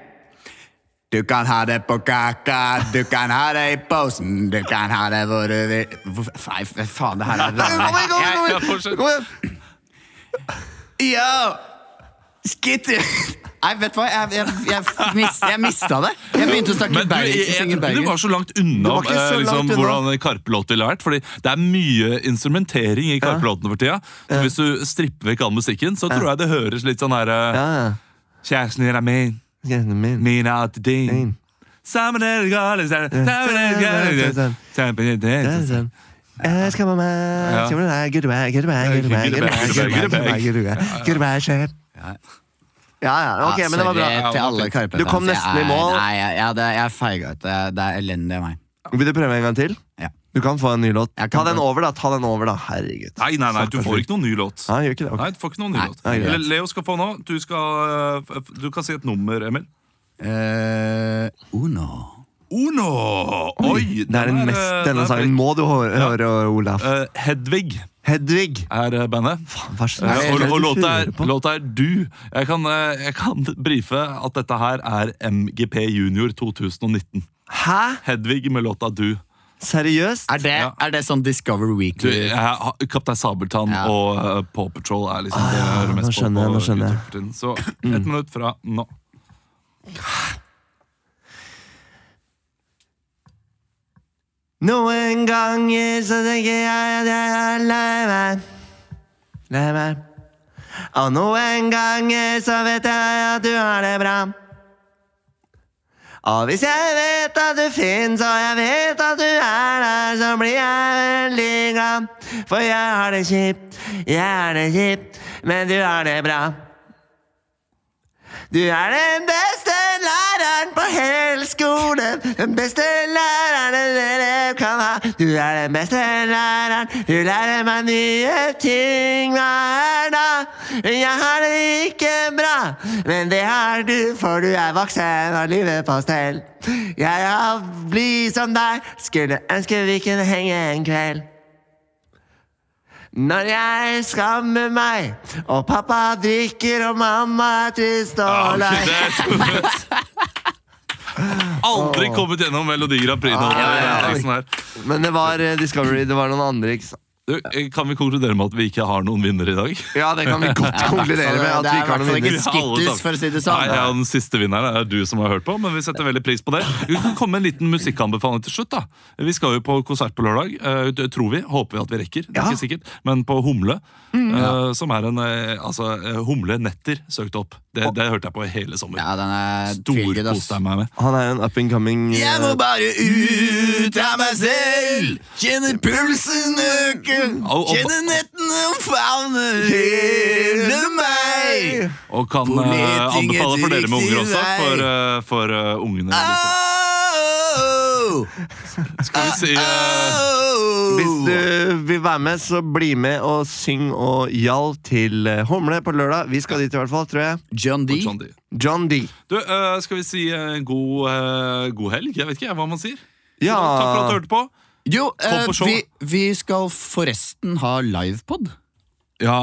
C: Du kan ha det på kaka, du kan ha det i posen, du kan ha det hvor du vil Hvor- Nei, f- faen, det her er
B: Kom igjen, kom igjen,
A: Ja,
B: kom
A: fortsett.
B: igjen! Kom igjen.
C: Yo! Skitter Nei, vet du hva, jeg, jeg, jeg, mis, jeg mista det. Jeg begynte å snakke
A: Men du,
C: bergen.
A: jeg, jeg
C: synge
A: tror ikke du
C: bergen.
A: var sånn. så langt unna
B: var ikke
A: eh,
B: så
A: liksom,
B: langt unna.
A: hvordan en Karpe-låt ville vært. Fordi det er mye instrumentering i Karpe-låtene for tida. Så hvis du stripper vekk all musikken, så tror jeg det høres litt sånn her eh,
B: Ja, ja.
A: Kjæresten din er min,
B: Kjæresten min.
A: min er alltid din.
B: Min.
A: Sammen er det gale, sammen er det gale, sammen er det
B: Det er
A: gale.
B: sånn. Jeg skal med meg, skal med deg, goodbye, goodbye, goodbye, goodbye, goodbye, goodbye, goodbye, goodbye, sjef. Ja, ja, ok, men det var bra.
C: Sorry til alle Karpe.
B: Du kom
C: fans.
B: nesten i
C: Jeg-
B: mål.
C: Nei, jeg, jeg, det, jeg feiga ut. Det, det er elendig av meg.
B: Vil du prøve en gang til?
C: Ja.
B: Du kan få en ny låt.
C: Jeg
B: Ta
C: kan
B: den
C: få-
B: over, da. Ta den over da, Herregud.
A: Nei, nei, nei, du får ikke noen ny låt.
B: Nei, gjør ikke det. ok.
A: Nei, du får ikke noen ny låt.
B: nei, greit.
A: Eller Leo skal få nå. Du, skal, eh, f- du kan si et nummer, Emil.
C: Eh, Uno.
A: Uno! Oi!
B: Det er den
A: eh,
B: mest,
A: den
B: denne
A: er
B: sangen
A: frekk.
B: må du hå- høre, Olaf.
A: Eh, Hedvig
B: Hedvig!
A: er eh, bandet.
B: Hva slags
A: Ja, og, og
B: er det du
A: låta er,
B: hører på?
A: låta er Du. Jeg kan, eh, jeg kan brife at dette her er MGP Junior 2019.
B: Hæ?
A: Hedvig med låta Du.
B: Seriøst?
C: Er det,
A: Ja.
C: er det sånn Discover
A: du
C: Weekly?
A: jeg har- Kaptein Sabeltann
C: Ja.
A: og eh, Paw Patrol er liksom det jeg
B: Ah,
A: hører mest
B: nå skjønner jeg,
A: på.
B: nå
A: på
B: skjønner jeg. Mm.
A: YouTube for tiden. Så ett minutt fra nå.
B: Noen ganger så tenker jeg at jeg er lei meg. Lei meg. Og noen ganger så vet jeg at du har det bra. Og hvis jeg vet at du fins, og jeg vet at du er der, så blir jeg veldig glad. For jeg har det kjipt, jeg har det kjipt, men du har det bra. Du er den beste læreren på hele skolen. Den beste læreren en elev kan ha. Du er den beste læreren. Du lærer meg nye ting hver dag. Jeg har det ikke bra, men det har du, for du er voksen og livet på stell. Jeg har blid som deg, skulle ønske vi kunne henge en kveld. Når jeg skammer meg, og pappa drikker og mamma er trist
A: Ah,
B: og lei.
A: Aldri kommet gjennom Melodi Grand Prix. nå,
B: Ah, ja, ja.
A: det er liksom her.
B: Men det var eh, Discovery, det var noen andre, ikke sant?
A: Du, eh, Kan vi konkludere med at vi ikke har noen vinner i dag?
B: Ja, det kan vi godt konkludere med. at vi
C: det er i
B: ikke har
C: hvert
B: noen
C: fall
B: vinner.
C: ikke
A: vinner. Alle tar-
C: Skittles, for å si det sånn.
A: Nei, ja, Den siste vinneren er du som har hørt på, men vi setter veldig pris på det. Vi kan komme med en liten musikkanbefaling til slutt. da. Vi skal jo på konsert på lørdag, eh, det tror vi. Håper vi at vi rekker. Det er ikke sikkert, Men på Humle,
C: Mm.
A: eh, som er en eh, altså, eh, Humle Netter søkt opp. Det, det hørte jeg på hele sommer.
C: Ja, den er tvilget, ass.
A: Storkost jeg meg med.
B: Han er jo en up and coming eh,
C: Jeg må bare ut av meg selv. Kjenner pulsen øke.
A: Au, au.
C: Kjenner nettene omfavne hele meg.
A: Og kan eh,
C: Poleting er
A: anbefale for dere med unger
C: riktig
A: også.
C: vei.
A: For, eh, for eh, ungene.
C: Au,
A: Skal vi si eh,
C: au.
B: Hvis du vil være med, så bli med og syng og jall til eh, Humle på lørdag. Vi skal dit i hvert fall, tror jeg.
C: John D.
A: John D.
B: John D.
A: Du, eh, skal vi si eh, god, eh, god helg? Jeg vet ikke jeg, hva man sier.
B: Ja.
A: Takk for at du hørte på.
C: Jo, eh,
A: på show.
C: vi, vi skal forresten ha livepod.
A: Ja,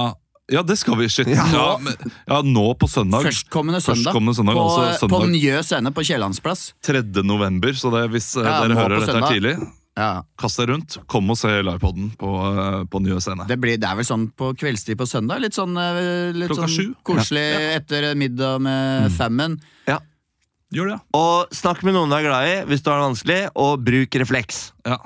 A: ja det skal vi. Shit. Ja. men, ja, nå på søndag.
C: Førstkommende søndag.
A: Førstkommende søndag,
C: på,
A: altså søndag.
C: på Njø scene på Kiellandsplass.
A: 3. november, så det, hvis eh,
C: Ja,
A: dere
C: nå på
A: hører dette her
C: søndag.
A: tidlig,
C: Ja,
A: kast deg rundt. Kom og se livepoden på, eh, på Nye Scene.
C: det, blir, det er vel sånn på kveldstid på søndag. Litt sånn, eh, litt
A: Klokka
C: sånn
A: sju. Mm.
C: koselig etter middag med fammen.
A: Gjør det,
B: Og snakk med noen du er glad i hvis du har det vanskelig, og bruk refleks.
A: ja.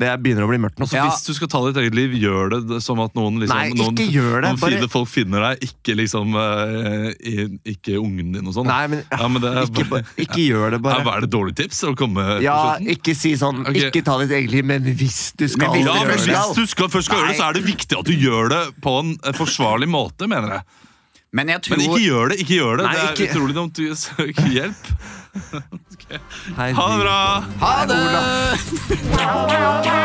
B: Det begynner å bli mørkt nå.
A: Så hvis du skal ta ditt eget liv, gjør det som at noen liksom,
B: Nei,
A: noen,
B: ikke gjør det,
A: noen
B: bare-
A: fine folk finner deg, ikke liksom eh, i- Ikke ungen din og sånn.
B: Nei, men,
A: ja, men det er
B: ikke,
A: bare,
B: ba- ikke gjør det,
A: Ja,
B: bare.
A: hva er det dårlig tips å komme på
B: Ja,
A: slutten?
B: ikke si sånn
A: Ok.
B: Ikke ta ditt eget liv, men hvis du skal
C: Men hvis
A: Ja,
C: du
A: men
C: gjør
A: Hvis du skal, først skal gjøre det, så er det viktig at du gjør det på en eh, forsvarlig måte, mener jeg.
C: Men jeg
A: Men
C: tror
A: ikke gjør det! ikke gjør Det
B: Nei,
A: Det er
B: ikke-
A: utrolig dumt. Du- Søk hjelp. Ha det bra!
B: Ha det!
F: Thank you.